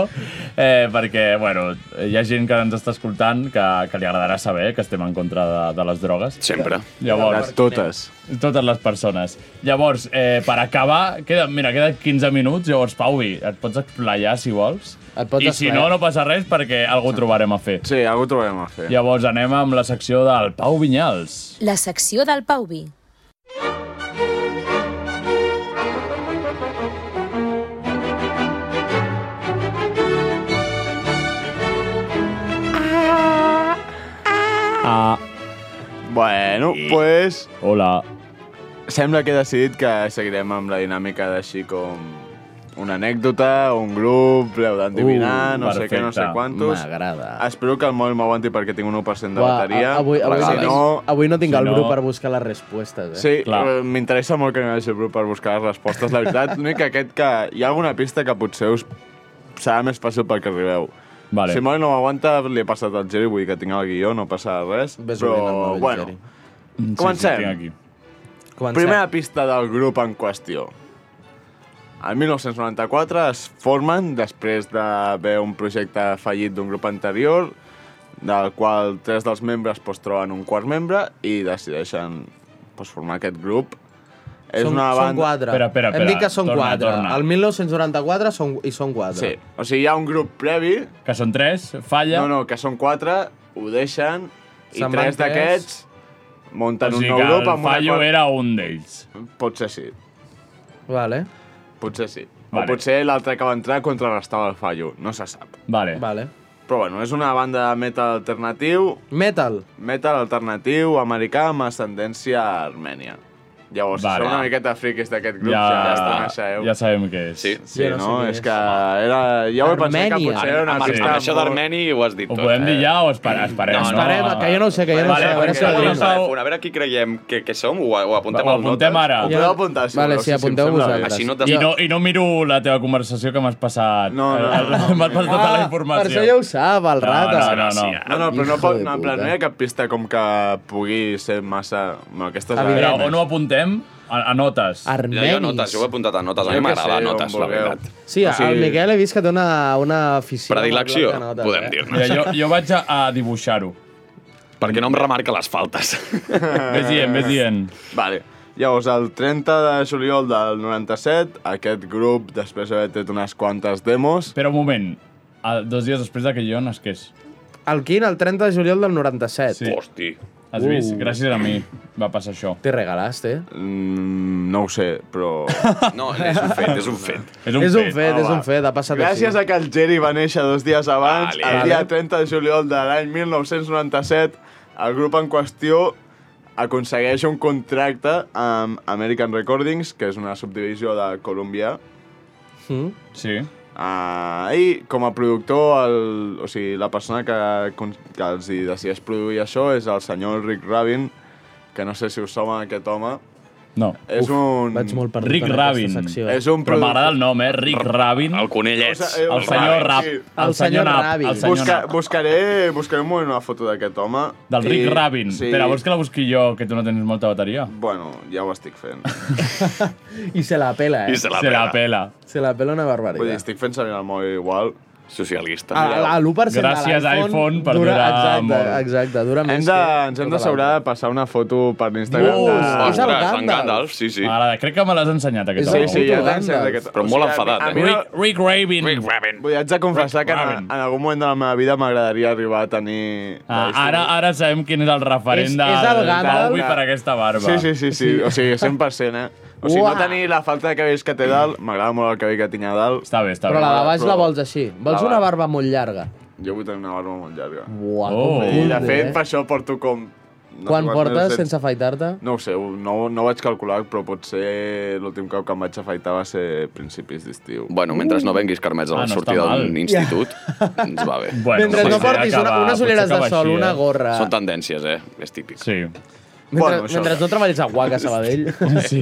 Speaker 2: eh, perquè, bueno, hi ha gent que ens està escoltant que, que li agradarà saber que estem en contra de, de les drogues.
Speaker 9: Sempre.
Speaker 2: Llavors,
Speaker 3: Les totes.
Speaker 2: totes les persones. Llavors, eh, per acabar, queda, mira, queden 15 minuts, llavors, Pauvi, et pots explayar si vols?
Speaker 8: Et pots
Speaker 2: I si
Speaker 8: esplaiar.
Speaker 2: no, no passa res perquè algú trobarem a fer.
Speaker 3: Sí, algú trobem a fer.
Speaker 2: Llavors anem amb la secció del Pau Vinyals.
Speaker 10: La secció del Pauvi.
Speaker 2: Ah,
Speaker 3: Bueno, doncs... Pues,
Speaker 2: hola.
Speaker 3: sembla que he decidit que seguirem amb la dinàmica d'així com una anècdota, un grup, l'heu d'endevinar,
Speaker 2: Uh,
Speaker 3: no sé què, no sé
Speaker 2: perfecte.
Speaker 3: quantos.
Speaker 8: M'agrada.
Speaker 3: Espero que el mòbil m'aguanti perquè tinc un 1% de
Speaker 8: Uah,
Speaker 3: bateria.
Speaker 8: a- avui, avui,
Speaker 3: si
Speaker 8: avui,
Speaker 3: no,
Speaker 8: avui no tinc
Speaker 2: si
Speaker 8: el
Speaker 2: no-
Speaker 8: grup per buscar les respostes, eh?
Speaker 3: Sí,
Speaker 2: Clar.
Speaker 3: eh, m'interessa molt que no hi hagi grup per buscar les respostes. La veritat, l'únic que aquest que hi ha alguna pista que potser us serà més fàcil perquè arribeu.
Speaker 2: Vale.
Speaker 3: Si el mòbil no m'aguanta, li he passat al Geri, vull dir que tinc el guió, no passa res.
Speaker 8: Ves obrint el
Speaker 3: però,
Speaker 8: mòbil,
Speaker 3: bueno,
Speaker 8: Geri.
Speaker 3: comencem.
Speaker 2: Mm, Sí, sí, tinc aquí.
Speaker 8: Comencem.
Speaker 3: primera pista del grup en qüestió. El 1994 es formen després d'haver un projecte fallit d'un grup anterior, del qual tres dels membres pues, troben un quart membre i decideixen pues, formar aquest grup. És
Speaker 8: són,
Speaker 3: una
Speaker 8: són
Speaker 3: banda...
Speaker 8: quatre.
Speaker 2: Espera, espera,
Speaker 8: Hem dit
Speaker 2: espera.
Speaker 8: que són
Speaker 2: Torna,
Speaker 8: quatre.
Speaker 2: torna.
Speaker 8: El 1994 són, i són quatre.
Speaker 3: Sí, o sigui, hi ha un grup previ,
Speaker 2: Que són tres, falla.
Speaker 3: no, no, que són quatre, ho deixen, i
Speaker 8: Se'n van
Speaker 3: tres d'aquests munten
Speaker 2: o sigui
Speaker 3: un nou
Speaker 2: que
Speaker 3: grup
Speaker 2: el
Speaker 3: amb una...
Speaker 2: fallo
Speaker 3: quart-
Speaker 2: era un d'ells.
Speaker 3: Potser sí,
Speaker 8: Vale,
Speaker 3: potser sí.
Speaker 2: Vale.
Speaker 3: O potser l'altre que va entrar contrarrestava el fallo, no se sap.
Speaker 2: Vale.
Speaker 8: vale.
Speaker 3: Però bueno, és una banda de metal alternatiu,
Speaker 8: Metal.
Speaker 3: metal alternatiu americà amb ascendència a Armènia. Llavors,
Speaker 2: Vale.
Speaker 3: vale. sou una miqueta friquis d'aquest grup,
Speaker 2: Ja,
Speaker 3: ja, ja, està,
Speaker 2: ja,
Speaker 3: naixeu.
Speaker 2: ja sabem què és. Ah, Sí,
Speaker 3: Sí, no, és que era... Ja ho he pensat que potser era una
Speaker 9: Amb, amb,
Speaker 3: pista...
Speaker 9: amb això d'Armeni ho has dit
Speaker 2: Ho
Speaker 9: tot. eh?
Speaker 2: podem dir ja o espera, esperem?
Speaker 9: No, no, Esperem,
Speaker 8: que jo no ho sé, que jo no ho sé, a veure si
Speaker 9: Vale,
Speaker 8: ho
Speaker 9: vale,
Speaker 8: dius.
Speaker 9: vale. A veure qui creiem que, que som, ho, ho apuntem
Speaker 2: Ho
Speaker 9: al
Speaker 2: apuntem
Speaker 9: notes?
Speaker 2: ara. Ho podeu apuntar, si Vale, voleu, sí, si- si em apunteu sembla bé. vosaltres.
Speaker 9: Així
Speaker 8: Ah,
Speaker 9: no
Speaker 2: I
Speaker 9: t'has...
Speaker 2: no, I no miro la teva conversació que m'has passat. No, no, no. M'has passat tota la informació.
Speaker 8: Ah, Per això ja ho sap,
Speaker 2: No,
Speaker 8: el
Speaker 2: no,
Speaker 8: rata.
Speaker 2: no, no.
Speaker 3: No, no, però no,
Speaker 8: Hijo
Speaker 3: pot,
Speaker 8: de
Speaker 3: no, en plan,
Speaker 8: puta.
Speaker 3: no hi ha cap pista com que pugui ser massa... No, aquesta és
Speaker 2: Mira,
Speaker 3: la...
Speaker 2: on ho apuntem? A, a notes.
Speaker 9: Jo, jo notes, jo ho he apuntat a notes. A mi
Speaker 3: Jo que
Speaker 9: m'agrada
Speaker 3: sé, on
Speaker 9: notes, la
Speaker 3: vulgueu.
Speaker 9: veritat.
Speaker 8: Sí, el Miquel he vist que té una, una afició.
Speaker 9: Predilecció,
Speaker 8: amb el bloc de notes,
Speaker 9: podem
Speaker 8: eh?
Speaker 9: dir-ne.
Speaker 2: Mira, jo, jo vaig a, a dibuixar-ho.
Speaker 9: Perquè no em remarca les faltes.
Speaker 2: Ves dient, ves dient.
Speaker 3: Vale. Llavors, el 30 de juliol del 97, aquest grup, després d'haver tret unes quantes demos...
Speaker 2: Espera un moment. A, dos dies després de que jo nasqués.
Speaker 8: El quin? El 30 de juliol del 97.
Speaker 2: Sí.
Speaker 9: Hosti.
Speaker 2: Has vist?
Speaker 8: Uh.
Speaker 2: Gràcies a mi va passar això.
Speaker 8: Te regalaste.
Speaker 3: Mm, no ho sé, però...
Speaker 9: No, és un fet, és un fet.
Speaker 2: És un
Speaker 8: és un
Speaker 2: fet.
Speaker 8: fet,
Speaker 3: Ah,
Speaker 8: és
Speaker 3: va.
Speaker 8: un fet, ha passat
Speaker 3: Gràcies
Speaker 8: així.
Speaker 3: a que el Jerry va néixer dos dies abans,
Speaker 9: Vale.
Speaker 3: el dia 30 de juliol de l'any 1997, el grup en qüestió aconsegueix un contracte amb American Recordings, que és una subdivisió de Columbia,
Speaker 8: Mm?
Speaker 2: Sí.
Speaker 3: Ah, I com a productor, el, o sigui, la persona que, con- que els hi decideix produir això és el senyor Rick Rabin, que no sé si us sona aquest home.
Speaker 2: No.
Speaker 3: És un...
Speaker 8: Vaig molt perdut
Speaker 2: Rick
Speaker 8: en
Speaker 2: Rabin.
Speaker 8: aquesta secció.
Speaker 3: És un
Speaker 2: Però m'agrada
Speaker 3: productor...
Speaker 2: el nom, eh? Rick Rabin.
Speaker 9: El conillet.
Speaker 3: O sigui,
Speaker 2: El senyor Rap.
Speaker 3: Sí.
Speaker 8: El senyor
Speaker 2: Nap,
Speaker 8: Rabin.
Speaker 2: El senyor
Speaker 3: Busca,
Speaker 2: Nap.
Speaker 3: buscaré, buscaré un moment una foto d'aquest home.
Speaker 2: Del
Speaker 3: I-
Speaker 2: Rick Rabin.
Speaker 3: Sí.
Speaker 2: Espera, vols que la busqui jo, que tu no tens molta bateria?
Speaker 3: Bueno, ja ho estic fent.
Speaker 8: I se la pela, eh?
Speaker 9: I se la
Speaker 2: Se la
Speaker 9: pela.
Speaker 2: pela.
Speaker 8: Se la pela una
Speaker 3: Vull dir,
Speaker 8: barbaritat.
Speaker 3: estic fent servir el mòbil igual. Ah,
Speaker 9: Socialista.
Speaker 8: A, a l'1% de
Speaker 2: Gràcies,
Speaker 8: l'iPhone
Speaker 2: iPhone, per durar
Speaker 8: exacte,
Speaker 2: molt.
Speaker 8: Exacte, dura
Speaker 2: Ah,
Speaker 3: Hem
Speaker 8: més
Speaker 3: de,
Speaker 8: que-
Speaker 3: ens hem
Speaker 8: tota
Speaker 3: d'assegurar de
Speaker 8: l'altra.
Speaker 3: passar una foto per l'Instagram.
Speaker 8: Dios!
Speaker 3: de... Ah,
Speaker 8: És
Speaker 9: Ostres,
Speaker 8: el
Speaker 9: en
Speaker 8: Gandalf.
Speaker 9: Gandalf, sí, sí.
Speaker 2: Ara, crec que me l'has ensenyat, aquest
Speaker 8: Sí,
Speaker 3: Sí,
Speaker 2: home.
Speaker 3: sí, ja t'han
Speaker 8: Gandalf.
Speaker 3: ensenyat aquest...
Speaker 9: Però molt
Speaker 3: O sigui,
Speaker 9: enfadat,
Speaker 3: a mi-
Speaker 9: eh?
Speaker 3: a mi no-
Speaker 2: Rick, Rick Rabin.
Speaker 9: Rick Rabin.
Speaker 3: Vull dir, haig de confessar
Speaker 2: Rick
Speaker 3: que en,
Speaker 2: Rabin.
Speaker 3: en algun moment de la meva vida m'agradaria arribar a tenir...
Speaker 2: Ah, ara, ara sabem quin és el referent
Speaker 8: És-
Speaker 2: de
Speaker 8: és el Gandalf.
Speaker 2: Bowie per aquesta barba.
Speaker 3: Sí, sí, sí, sí. O sigui, 100%, eh? O sigui,
Speaker 8: Uah.
Speaker 3: no tenir la falta de cabells que té dalt, m'agrada molt el cabell que tinc a dalt.
Speaker 2: Està bé, està bé.
Speaker 8: Però la de baix la
Speaker 3: Però-
Speaker 8: vols així. Vols
Speaker 3: La
Speaker 8: una
Speaker 3: baix.
Speaker 8: barba molt llarga.
Speaker 3: Jo vull tenir una barba molt llarga.
Speaker 2: Oh.
Speaker 8: Uah, com
Speaker 2: Sí,
Speaker 3: I,
Speaker 8: culto,
Speaker 3: de fet,
Speaker 8: eh?
Speaker 3: per això porto com... No sé
Speaker 8: Quan
Speaker 3: quants
Speaker 8: portes
Speaker 3: mesos,
Speaker 8: sense afaitar-te?
Speaker 3: No ho sé, no, no ho vaig calcular, però potser l'últim cop que em vaig afaitar va ser a principis d'estiu.
Speaker 9: Bueno, mentre no venguis carmets a
Speaker 2: Ah,
Speaker 9: la
Speaker 2: no
Speaker 9: sortida
Speaker 2: està
Speaker 9: d'un
Speaker 2: mal.
Speaker 9: institut, ens va bé.
Speaker 2: Bueno,
Speaker 8: Mentre no
Speaker 2: potser
Speaker 8: portis una,
Speaker 2: acaba-
Speaker 8: unes
Speaker 2: potser
Speaker 8: ulleres de
Speaker 2: acaba
Speaker 8: sol,
Speaker 2: així,
Speaker 8: una
Speaker 2: eh?
Speaker 8: gorra...
Speaker 9: Són tendències, eh? És típic.
Speaker 2: Sí.
Speaker 8: Mentre,
Speaker 3: Bueno, això.
Speaker 8: mentre no treballis a Guac, a Sabadell.
Speaker 2: sí.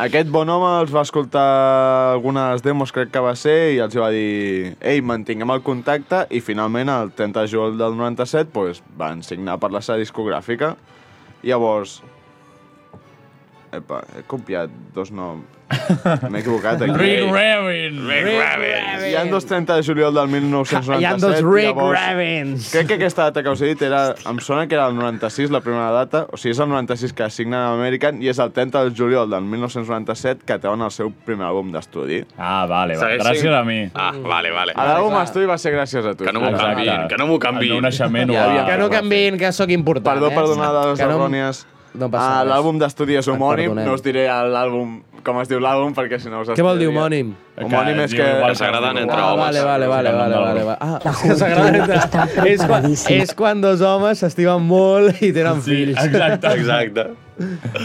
Speaker 3: Aquest bon home els va escoltar algunes demos, crec que va ser, i els va dir «Ei, mantinguem el contacte», i finalment, el 30 de juliol del 97, doncs, van signar per la seva discogràfica. Llavors... Epa, he copiat dos noms. M'he equivocat aquí.
Speaker 2: Rick Rabin. Rick Rabin.
Speaker 3: Hi ha dos 30 de juliol del 1997.
Speaker 8: Hi ha dos Rick
Speaker 3: llavors,
Speaker 8: Ravens.
Speaker 3: Crec que aquesta data que us he dit era, em sona que era el 96, la primera data. O sigui, és el 96 que signen amb American i és el 30 de juliol del 1997 que treuen el seu primer àlbum d'estudi.
Speaker 2: Ah, vale, va.
Speaker 9: Segueix
Speaker 2: gràcies
Speaker 9: sent-
Speaker 2: a mi.
Speaker 9: Ah, vale, vale.
Speaker 3: L'àlbum
Speaker 8: clar.
Speaker 3: d'estudi va ser gràcies a tu.
Speaker 9: Que no m'ho
Speaker 3: Exacte.
Speaker 9: canviïn, que no m'ho
Speaker 2: El meu
Speaker 9: canviïn.
Speaker 2: naixement ho
Speaker 3: Ja havia-
Speaker 2: va...
Speaker 8: Que no canviïn, que sóc important.
Speaker 3: Perdó
Speaker 8: eh?
Speaker 3: per donar dades
Speaker 8: Que no-
Speaker 3: errònies.
Speaker 8: no passa
Speaker 3: Ah,
Speaker 8: res.
Speaker 3: L'àlbum d'estudi és
Speaker 8: Et
Speaker 3: homònim,
Speaker 8: perdonem.
Speaker 3: no us diré l'àlbum com es diu l'àlbum perquè si no us
Speaker 8: Què vol dir
Speaker 3: estudiaria.
Speaker 8: homònim?
Speaker 3: Homònim és que...
Speaker 9: que s'agraden entre
Speaker 8: Ah,
Speaker 9: homes.
Speaker 8: vale, vale, vale, vale, vale, vale. Ah,
Speaker 10: La
Speaker 8: que s'agraden
Speaker 10: joventut
Speaker 8: entre-
Speaker 10: està
Speaker 8: és, quan,
Speaker 10: preparadíssima.
Speaker 8: és quan dos homes s'estimen molt i tenen
Speaker 2: Sí,
Speaker 8: fills.
Speaker 2: exacte.
Speaker 9: Exacte.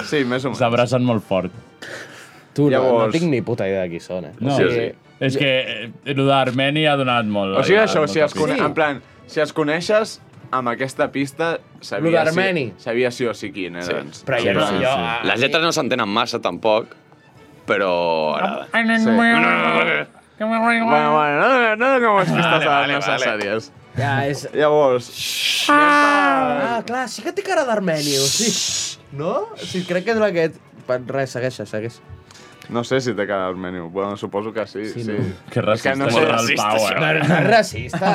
Speaker 3: Sí, més o menys.
Speaker 2: S'abracen molt fort.
Speaker 8: Tu, no,
Speaker 3: Llavors-
Speaker 8: no tinc ni puta idea de qui són, eh?
Speaker 2: No,
Speaker 9: Sí,
Speaker 2: És que eh, lo d'Armeni ha donat molt.
Speaker 3: O sigui,
Speaker 2: ha donat
Speaker 3: això,
Speaker 2: molta
Speaker 3: si es
Speaker 2: pista.
Speaker 3: cone... en plan, si els coneixes amb aquesta pista,
Speaker 8: Lo
Speaker 3: sabia, si,
Speaker 8: d'Armeni.
Speaker 3: sabia sí o sí quin doncs. eren.
Speaker 9: Sí.
Speaker 8: Però jo no,
Speaker 2: sí,
Speaker 8: jo...
Speaker 2: sí.
Speaker 9: Les lletres no s'entenen massa, tampoc, però... agrada.
Speaker 3: Sí. Bueno, bueno, no, no, no com les pistes
Speaker 9: vale,
Speaker 3: vale, vale, necessàries.
Speaker 8: Ja, és...
Speaker 3: Llavors,
Speaker 8: Ah, clar, sí que té cara d'armeni, o sigui... No? Sí, crec que és aquest... Res, segueix, segueix.
Speaker 3: no sé si té cara al menú. Bueno, suposo que sí.
Speaker 8: Sí,
Speaker 3: sí.
Speaker 8: no.
Speaker 2: Que racista,
Speaker 3: És que no
Speaker 2: és
Speaker 3: sé-
Speaker 2: el
Speaker 9: racista,
Speaker 2: Pau,
Speaker 9: això.
Speaker 2: eh?
Speaker 8: No, no és racista.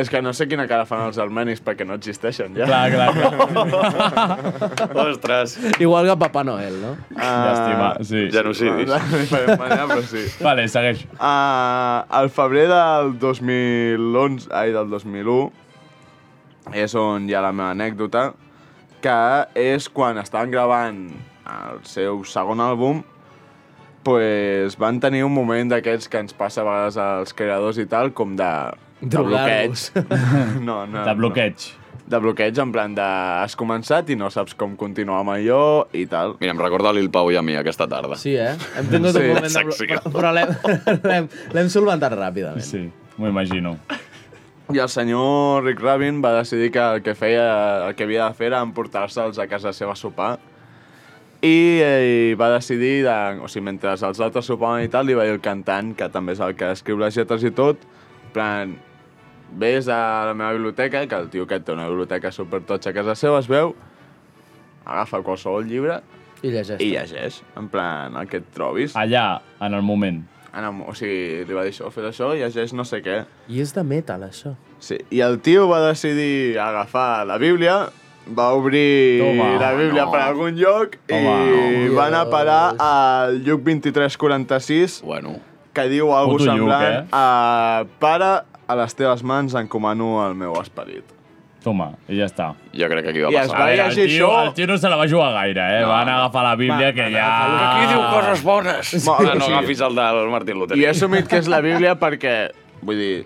Speaker 3: És que no sé quina cara fan els armenis perquè no existeixen ja.
Speaker 2: Clar, clar, clar.
Speaker 9: Ostres,
Speaker 8: Igual que Papà Noel, no?
Speaker 2: Llàstima, sí.
Speaker 9: genocidis.
Speaker 3: Ah. De diferent manera, però sí.
Speaker 2: Vale, segueix.
Speaker 3: Ah, al febrer del 2011, ai, del 2001, és on hi ha la meva anècdota, que és quan estaven gravant el seu segon àlbum, pues van tenir un moment d'aquests que ens passa a vegades als creadors i tal, com de... De bloqueig.
Speaker 8: Drogar-los.
Speaker 3: No, no.
Speaker 2: De bloqueig.
Speaker 3: No. de bloqueig, en plan de has començat i no saps com continuar amb allò i tal.
Speaker 9: Mira, em recorda l'Il Pau i a mi aquesta tarda.
Speaker 8: Sí, eh? Hem tingut sí, un moment de...
Speaker 9: secció.
Speaker 8: Però, però l'hem- l'hem l'hem solventat ràpidament.
Speaker 2: Sí, m'ho imagino.
Speaker 3: I el senyor Rick Rabin va decidir que el que feia, el que havia de fer era emportar-se'ls a casa seva a sopar. I, eh, i va decidir, de, o sigui, mentre els altres sopaven i tal, li va dir el cantant, que també és el que escriu les lletres i tot, en plan, vés a la meva biblioteca, que el tio aquest té una biblioteca supertotxa a casa seva, es veu, agafa qualsevol llibre
Speaker 8: I llegeix.
Speaker 3: i llegeix, en plan, el que et trobis.
Speaker 2: Allà, en el moment.
Speaker 3: En el, o sigui, li va dir això, fes això, llegeix no sé què.
Speaker 8: I és de metal, això.
Speaker 3: Sí, i el tio va decidir agafar la Bíblia, va obrir
Speaker 8: Toma,
Speaker 3: la Bíblia
Speaker 8: no.
Speaker 3: per algun lloc i
Speaker 8: Home.
Speaker 3: va anar a parar al lluc 2346
Speaker 9: bueno.
Speaker 3: que diu alguna
Speaker 2: Puto
Speaker 3: cosa
Speaker 2: lluc,
Speaker 3: semblant
Speaker 2: eh?
Speaker 3: a pare, a les teves mans encomano el meu esperit.
Speaker 2: Toma, i ja està.
Speaker 9: Jo crec que aquí va
Speaker 3: I es
Speaker 9: passar.
Speaker 3: va
Speaker 9: A veure,
Speaker 2: El tio, el tio no se la va jugar gaire, eh? No. Van agafar la Bíblia,
Speaker 8: Va,
Speaker 2: que
Speaker 8: va,
Speaker 2: ja...
Speaker 9: Aquí diu coses bones.
Speaker 3: Sí.
Speaker 9: Mare, no
Speaker 3: Sí.
Speaker 9: agafis el del Martin Luther.
Speaker 3: I he assumit que és la Bíblia perquè, vull dir,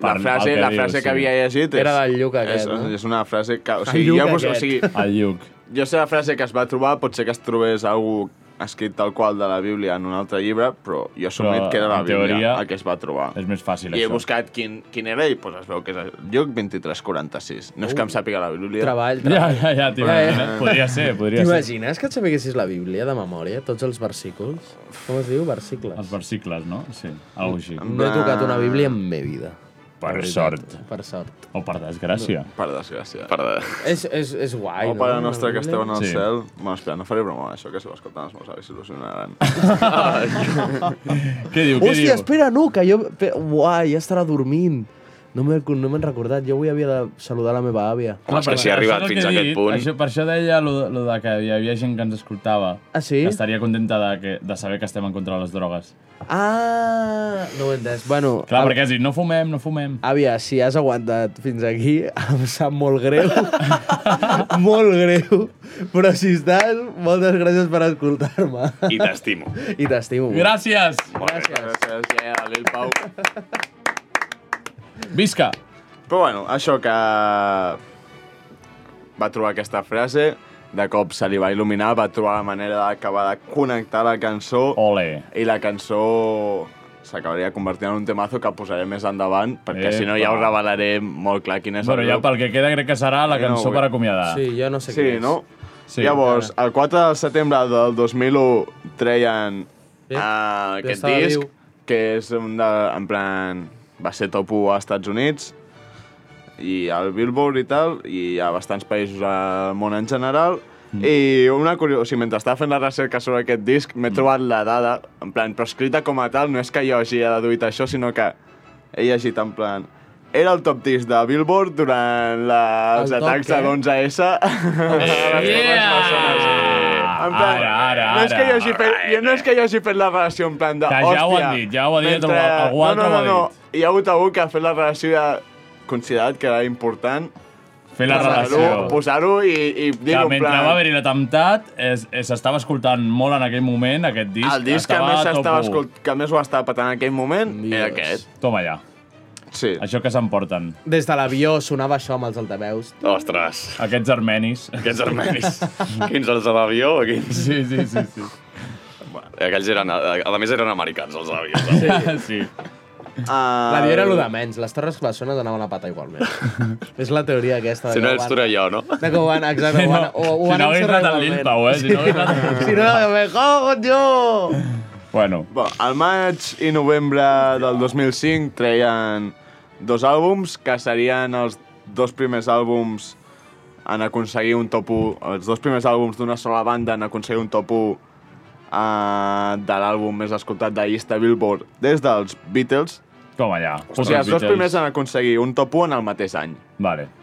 Speaker 3: la
Speaker 2: Per- el
Speaker 3: frase,
Speaker 2: que
Speaker 3: la
Speaker 2: diu,
Speaker 3: frase que
Speaker 2: sí.
Speaker 3: havia llegit és,
Speaker 8: Era del lluc
Speaker 3: és,
Speaker 8: aquest, no?
Speaker 3: és una frase que... O
Speaker 8: El
Speaker 3: sigui,
Speaker 8: lluc
Speaker 3: ja vos, o
Speaker 8: aquest.
Speaker 3: sigui,
Speaker 2: El Lluc.
Speaker 3: Jo sé la frase que es va trobar, potser que es trobés algú escrit tal qual de la Bíblia en un altre llibre, però jo he assumit
Speaker 2: Però,
Speaker 3: que era la
Speaker 2: en
Speaker 3: Bíblia
Speaker 2: teoria,
Speaker 3: el que es va trobar.
Speaker 2: És més fàcil,
Speaker 3: I he
Speaker 2: això.
Speaker 3: buscat quin, quin era i doncs, es veu que és el lloc 2346. No és que em sàpiga la Bíblia.
Speaker 8: Treball, treball.
Speaker 2: Ja, ja, ja, t'imagines.
Speaker 8: Eh.
Speaker 2: Podria ser, podria ser.
Speaker 8: T'imagines que et sabessis la Bíblia de memòria? Tots els versicles? Com es diu? Versicles.
Speaker 2: Els versicles, no? Sí, alguna així.
Speaker 8: No he tocat una Bíblia en me vida.
Speaker 2: Per
Speaker 8: La veritat,
Speaker 2: sort.
Speaker 8: Per sort.
Speaker 2: O per desgràcia.
Speaker 3: Per desgràcia.
Speaker 9: Per de...
Speaker 8: És, és, és guai,
Speaker 3: O per la
Speaker 8: Una
Speaker 3: nostra que
Speaker 8: Bíblia.
Speaker 3: esteu en el
Speaker 2: Sí.
Speaker 3: sí. cel. Bueno, espera, no faré broma d'això, que si ho escolten els meus avis s'il·lusionaran.
Speaker 2: Què diu, què
Speaker 8: Hòstia,
Speaker 2: diu?
Speaker 8: espera, no, que jo... pe- Uai, ja estarà dormint. No m'he no m'he recordat, jo avui havia de saludar la meva àvia.
Speaker 9: Home, és que si ha arribat fins a aquest punt...
Speaker 2: Això, per això deia lo, lo de que hi havia gent que ens escoltava.
Speaker 8: Ah, sí?
Speaker 2: Que estaria contenta de, que, de saber que estem en contra de les drogues.
Speaker 8: Ah, no ho he entès. Bueno,
Speaker 2: Clar,
Speaker 9: Ah.
Speaker 8: a-
Speaker 2: perquè has dit, no fumem, no fumem.
Speaker 8: àvia, si has aguantat fins aquí, em sap molt greu. molt greu. Però si estàs, moltes gràcies per escoltar-me.
Speaker 9: I t'estimo.
Speaker 8: I t'estimo. molt.
Speaker 2: Gràcies!
Speaker 9: Gràcies.
Speaker 3: Gràcies, yeah, Lil Pau.
Speaker 2: Visca!
Speaker 3: Però bueno, això que va trobar aquesta frase, de cop se li va il·luminar, va trobar la manera d'acabar de connectar la cançó
Speaker 2: Ole.
Speaker 3: i la cançó s'acabaria convertint en un temazo que posaré més endavant, perquè si no ja
Speaker 2: Epa.
Speaker 3: us revelaré molt clar quin és
Speaker 2: Bueno,
Speaker 3: el
Speaker 2: ja
Speaker 3: grup.
Speaker 2: pel que queda crec que serà la
Speaker 3: Jo no
Speaker 2: cançó
Speaker 3: vull.
Speaker 2: per acomiadar.
Speaker 8: Sí, jo no sé
Speaker 3: Sí,
Speaker 8: què és.
Speaker 3: no?
Speaker 2: Sí,
Speaker 3: Sí, Llavors, el 4 de setembre del 2001 treien
Speaker 8: Sí,
Speaker 3: sí, uh, aquest
Speaker 8: estava
Speaker 3: disc,
Speaker 8: viu.
Speaker 3: que és un de, en plan... Va ser top 1 als Estats Units, i al Billboard i tal, i a bastants països al món en general. Mm. I una curiosa... O sigui, mentre estava fent la recerca sobre aquest disc, m'he trobat la dada, en plan, però escrita com a tal, no és que jo hagi deduït això, sinó que he llegit en plan... Era el top disc de Billboard durant la, els
Speaker 8: El top
Speaker 3: atacs
Speaker 8: què?
Speaker 3: de l'11S.
Speaker 2: Yeah!
Speaker 3: En plan,
Speaker 2: Ara, ara,
Speaker 3: no és que
Speaker 2: ara.
Speaker 3: jo hagi fet, jo no és que jo hagi fet la relació en plan de,
Speaker 2: Que ja ho
Speaker 3: hòstia...
Speaker 2: han dit, ja ho ha dit, algú altre
Speaker 3: no,
Speaker 2: ho
Speaker 3: no,
Speaker 2: ha
Speaker 3: no,
Speaker 2: dit.
Speaker 3: no, hi ha hagut algú que ha fet la relació de considerat que era important
Speaker 2: Fer la
Speaker 3: posar-ho
Speaker 2: relació.
Speaker 3: posar i, i
Speaker 2: Que
Speaker 3: dir-ho en
Speaker 2: mentre va
Speaker 3: plan...
Speaker 2: haver-hi l'atemptat, es- es- s'estava escoltant molt en aquell moment, aquest disc.
Speaker 3: El disc que més,
Speaker 2: a top
Speaker 3: estava
Speaker 2: u.
Speaker 3: escolt, que més ho estava patant en aquell moment
Speaker 8: Dios.
Speaker 3: era aquest.
Speaker 2: Toma ja,
Speaker 3: Sí.
Speaker 2: això que s'emporten.
Speaker 8: Des de l'avió sonava això amb els altaveus.
Speaker 9: Ostres,
Speaker 2: Aquests armenis.
Speaker 9: aquests armenis. Quins els de l'avió? Quins...
Speaker 2: Sí, sí, sí. sí.
Speaker 9: Aquells eren... A més, eren americans, els eh? avions.
Speaker 2: sí.
Speaker 3: Ah,
Speaker 8: L'avió era el de menys, les torres bessones anaven a pata igualment. és la teoria aquesta. de
Speaker 9: Si no
Speaker 8: que
Speaker 9: ets
Speaker 8: ho van-
Speaker 9: Torelló, no?
Speaker 8: De que ho van, exacte, ho van,
Speaker 2: Si no-
Speaker 8: ho, ho
Speaker 2: si
Speaker 8: van
Speaker 2: no hagués
Speaker 8: encerrar
Speaker 2: anat al
Speaker 8: igualment.
Speaker 2: Lil Pau, eh, si no hagués anat-
Speaker 8: si no, me jogo jo!
Speaker 2: Bueno,
Speaker 3: Bé, al maig i novembre del 2005 treien dos àlbums que serien els dos primers àlbums en aconseguir un top 1, els dos primers àlbums d'una sola banda en aconseguir un top 1 uh, de l'àlbum més escoltat de llista Billboard des dels Beatles.
Speaker 2: com allà.
Speaker 3: O sigui, els dos primers en aconseguir un top 1 en el mateix any.
Speaker 2: Vale.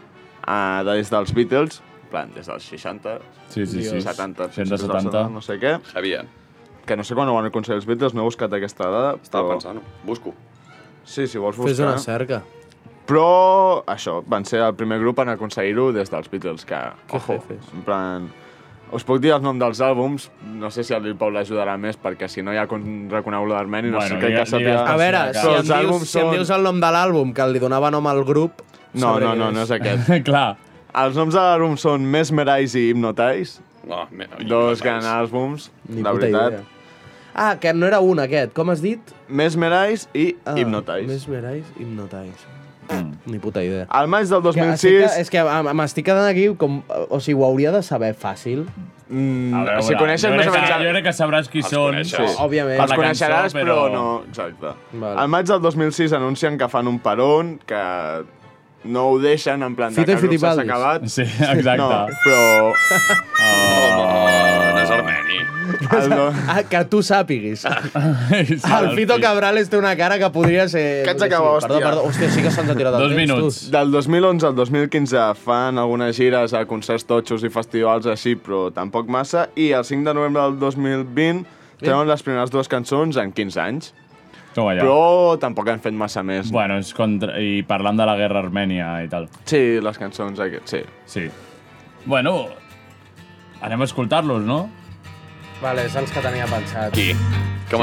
Speaker 3: Uh, des dels Beatles, en plan, des dels 60,
Speaker 2: Sí, sí, sí.
Speaker 3: 70,
Speaker 2: 60,
Speaker 3: 70,
Speaker 2: 70.
Speaker 3: no sé què.
Speaker 9: Sabia.
Speaker 3: Que no sé quan ho van aconseguir els Beatles, no he buscat aquesta dada.
Speaker 9: Estava
Speaker 3: però-
Speaker 9: pensant. Busco.
Speaker 3: Sí, si vols buscar.
Speaker 8: Fes una cerca.
Speaker 3: Però això, van ser el primer grup en aconseguir-ho des dels Beatles, que, ojo,
Speaker 8: jefes.
Speaker 3: en plan... Us puc dir el nom dels àlbums, no sé si el Lil Pau l'ajudarà més, perquè si no hi ha con- reconegut l'armeni, no
Speaker 2: Bueno,
Speaker 3: sé crec
Speaker 2: digue-
Speaker 3: que sàpiga...
Speaker 2: digues-
Speaker 8: A veure, si
Speaker 3: Però
Speaker 8: em,
Speaker 3: els
Speaker 8: dius,
Speaker 3: àlbums
Speaker 8: si em dius el nom de l'àlbum que li donava nom al grup...
Speaker 3: No,
Speaker 8: sabré
Speaker 3: no,
Speaker 8: quin
Speaker 3: no, no és aquest.
Speaker 2: Clar.
Speaker 3: Els noms de l'àlbum són Mesmerize i Hypnotize,
Speaker 9: No,
Speaker 2: Ah,
Speaker 9: me,
Speaker 3: dos grans àlbums,
Speaker 8: Ni
Speaker 3: la
Speaker 8: puta
Speaker 3: veritat.
Speaker 8: idea. Ah, que no era un aquest, com has dit?
Speaker 3: Mesmerize i
Speaker 8: Ah,
Speaker 3: Hypnotize. Mm.
Speaker 8: Mesmerize, Hypnotize. Ni puta idea.
Speaker 3: Al maig del
Speaker 8: Que, estic,
Speaker 3: 2006...
Speaker 8: és que ah, m'estic quedant aquí com... O sigui, ho hauria de saber fàcil.
Speaker 3: Mm,
Speaker 2: A veure,
Speaker 3: si coneixes
Speaker 2: jo
Speaker 3: més
Speaker 2: crec
Speaker 3: o
Speaker 2: que-
Speaker 3: menys... el-
Speaker 2: Jo crec que sabràs qui
Speaker 9: Els
Speaker 2: són.
Speaker 9: coneixes.
Speaker 8: Sí. Òbviament.
Speaker 2: Per
Speaker 3: Els
Speaker 2: la
Speaker 3: coneixeràs,
Speaker 2: cançó,
Speaker 3: però...
Speaker 2: però
Speaker 3: no... Exacte.
Speaker 8: Vale.
Speaker 3: Al maig del 2006 anuncien que fan un peron, que no ho deixen, en plan de
Speaker 8: Fito i
Speaker 3: que el grup s'ha
Speaker 8: Fitipaldis.
Speaker 3: acabat.
Speaker 2: Sí, exacte.
Speaker 3: No, però...
Speaker 9: Home, no és armeni.
Speaker 3: El, do...
Speaker 8: Ah, que tu sàpiguis.
Speaker 2: Sí,
Speaker 8: el Fito Cabrales té una cara que podria ser...
Speaker 3: Que ets acabada,
Speaker 8: Perdó,
Speaker 3: hòstia.
Speaker 8: perdó, hòstia, sí que se'ns ha tirat el
Speaker 2: Dos
Speaker 8: temps,
Speaker 2: minuts.
Speaker 8: tu.
Speaker 3: Del 2011 al 2015 fan algunes gires a concerts totxos i festivals així, però tampoc massa, i el 5 de novembre del 2020 treuen les primeres dues cançons en 15 anys,
Speaker 2: Toma ja.
Speaker 3: però tampoc han fet massa més.
Speaker 2: Bueno, és contra... i parlant de la guerra armènia i tal.
Speaker 3: Sí, les cançons aquestes, sí.
Speaker 2: Sí. Bueno, anem a escoltar-los, no?
Speaker 8: Vale, és els que tenia pensat.
Speaker 9: Qui? Com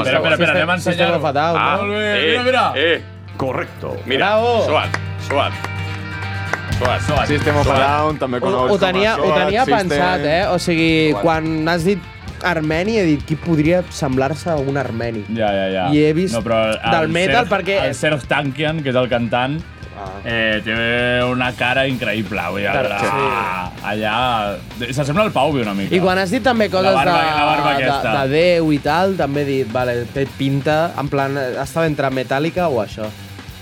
Speaker 2: Espera,
Speaker 9: esteu?
Speaker 2: espera, espera, anem a
Speaker 8: System
Speaker 2: ensenyar-ho.
Speaker 8: of a Down,
Speaker 2: Ah,
Speaker 8: no?
Speaker 2: molt bé, mira, mira.
Speaker 9: Eh, correcto. Mira,
Speaker 8: Bravo.
Speaker 9: suat, suat. Suat, suat.
Speaker 3: System of a Down, també
Speaker 8: Ho,
Speaker 3: conegut
Speaker 8: ho tenia,
Speaker 3: com a
Speaker 8: ho tenia
Speaker 3: System.
Speaker 8: pensat, eh? O sigui,
Speaker 3: Bueno.
Speaker 8: quan has dit armeni, he dit qui podria semblar-se a un armeni.
Speaker 2: Ja, ja, ja.
Speaker 8: I he vist
Speaker 2: el- el
Speaker 8: del metal
Speaker 2: Serj-
Speaker 8: perquè-
Speaker 2: El Serj Tankian, que és el cantant, eh, té una cara increïble. Vull dir, allà, allà... S'assembla al Pauvi una mica.
Speaker 8: I quan has dit també coses
Speaker 2: La barba-
Speaker 8: de,
Speaker 2: la barba
Speaker 8: de,
Speaker 2: aquesta.
Speaker 8: de Déu i tal, també he dit, vale, té pinta, en plan, estava entre Metallica o això.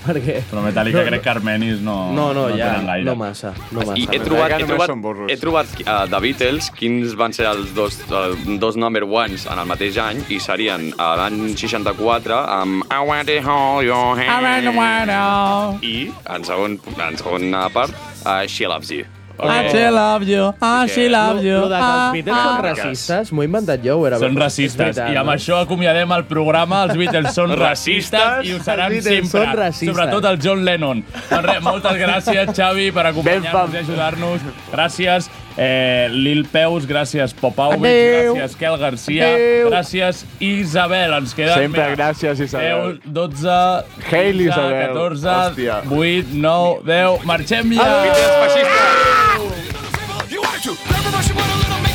Speaker 8: Perquè...
Speaker 2: Però Metallica no, crec que armenis no...
Speaker 8: No, no, ja,
Speaker 2: tenen gaire.
Speaker 8: no massa, no
Speaker 9: I
Speaker 8: massa.
Speaker 9: he trobat,
Speaker 3: Metallica
Speaker 9: he
Speaker 3: només
Speaker 9: trobat,
Speaker 3: són burros.
Speaker 9: he trobat uh, de Beatles quins van ser els dos, uh, dos number ones en el mateix any i serien uh, l'any 64 amb I want to hold your hand i en segon, en segona part uh, She Loves You.
Speaker 2: I still love you, I still
Speaker 8: Lo,
Speaker 2: love you.
Speaker 8: lo de que els
Speaker 2: ah,
Speaker 8: Beatles
Speaker 2: ah.
Speaker 8: són racistes, m'ho he inventat jo, ho era.
Speaker 2: Són racistes. I amb això acomiadem el programa. Els Beatles són racistes i ho seran
Speaker 8: Els Beatles
Speaker 2: sempre.
Speaker 8: són racistes.
Speaker 2: Sobretot el John Lennon. Doncs res, moltes gràcies, Xavi, per acompanyar-nos
Speaker 3: Ben,
Speaker 2: i ajudar-nos. Gràcies, eh, Lil Peus, gràcies, Popauwitz, gràcies, Kel Garcia, gràcies, Isabel. Ens queden...
Speaker 3: Sempre gràcies, Isabel.
Speaker 2: 10, 12,
Speaker 3: Hail,
Speaker 2: 15,
Speaker 3: Isabel.
Speaker 2: 14,
Speaker 3: Hòstia.
Speaker 2: 8, 9, 10... Marxem ja!
Speaker 9: Beatles feixistes!
Speaker 7: You want to? Everybody should want a little make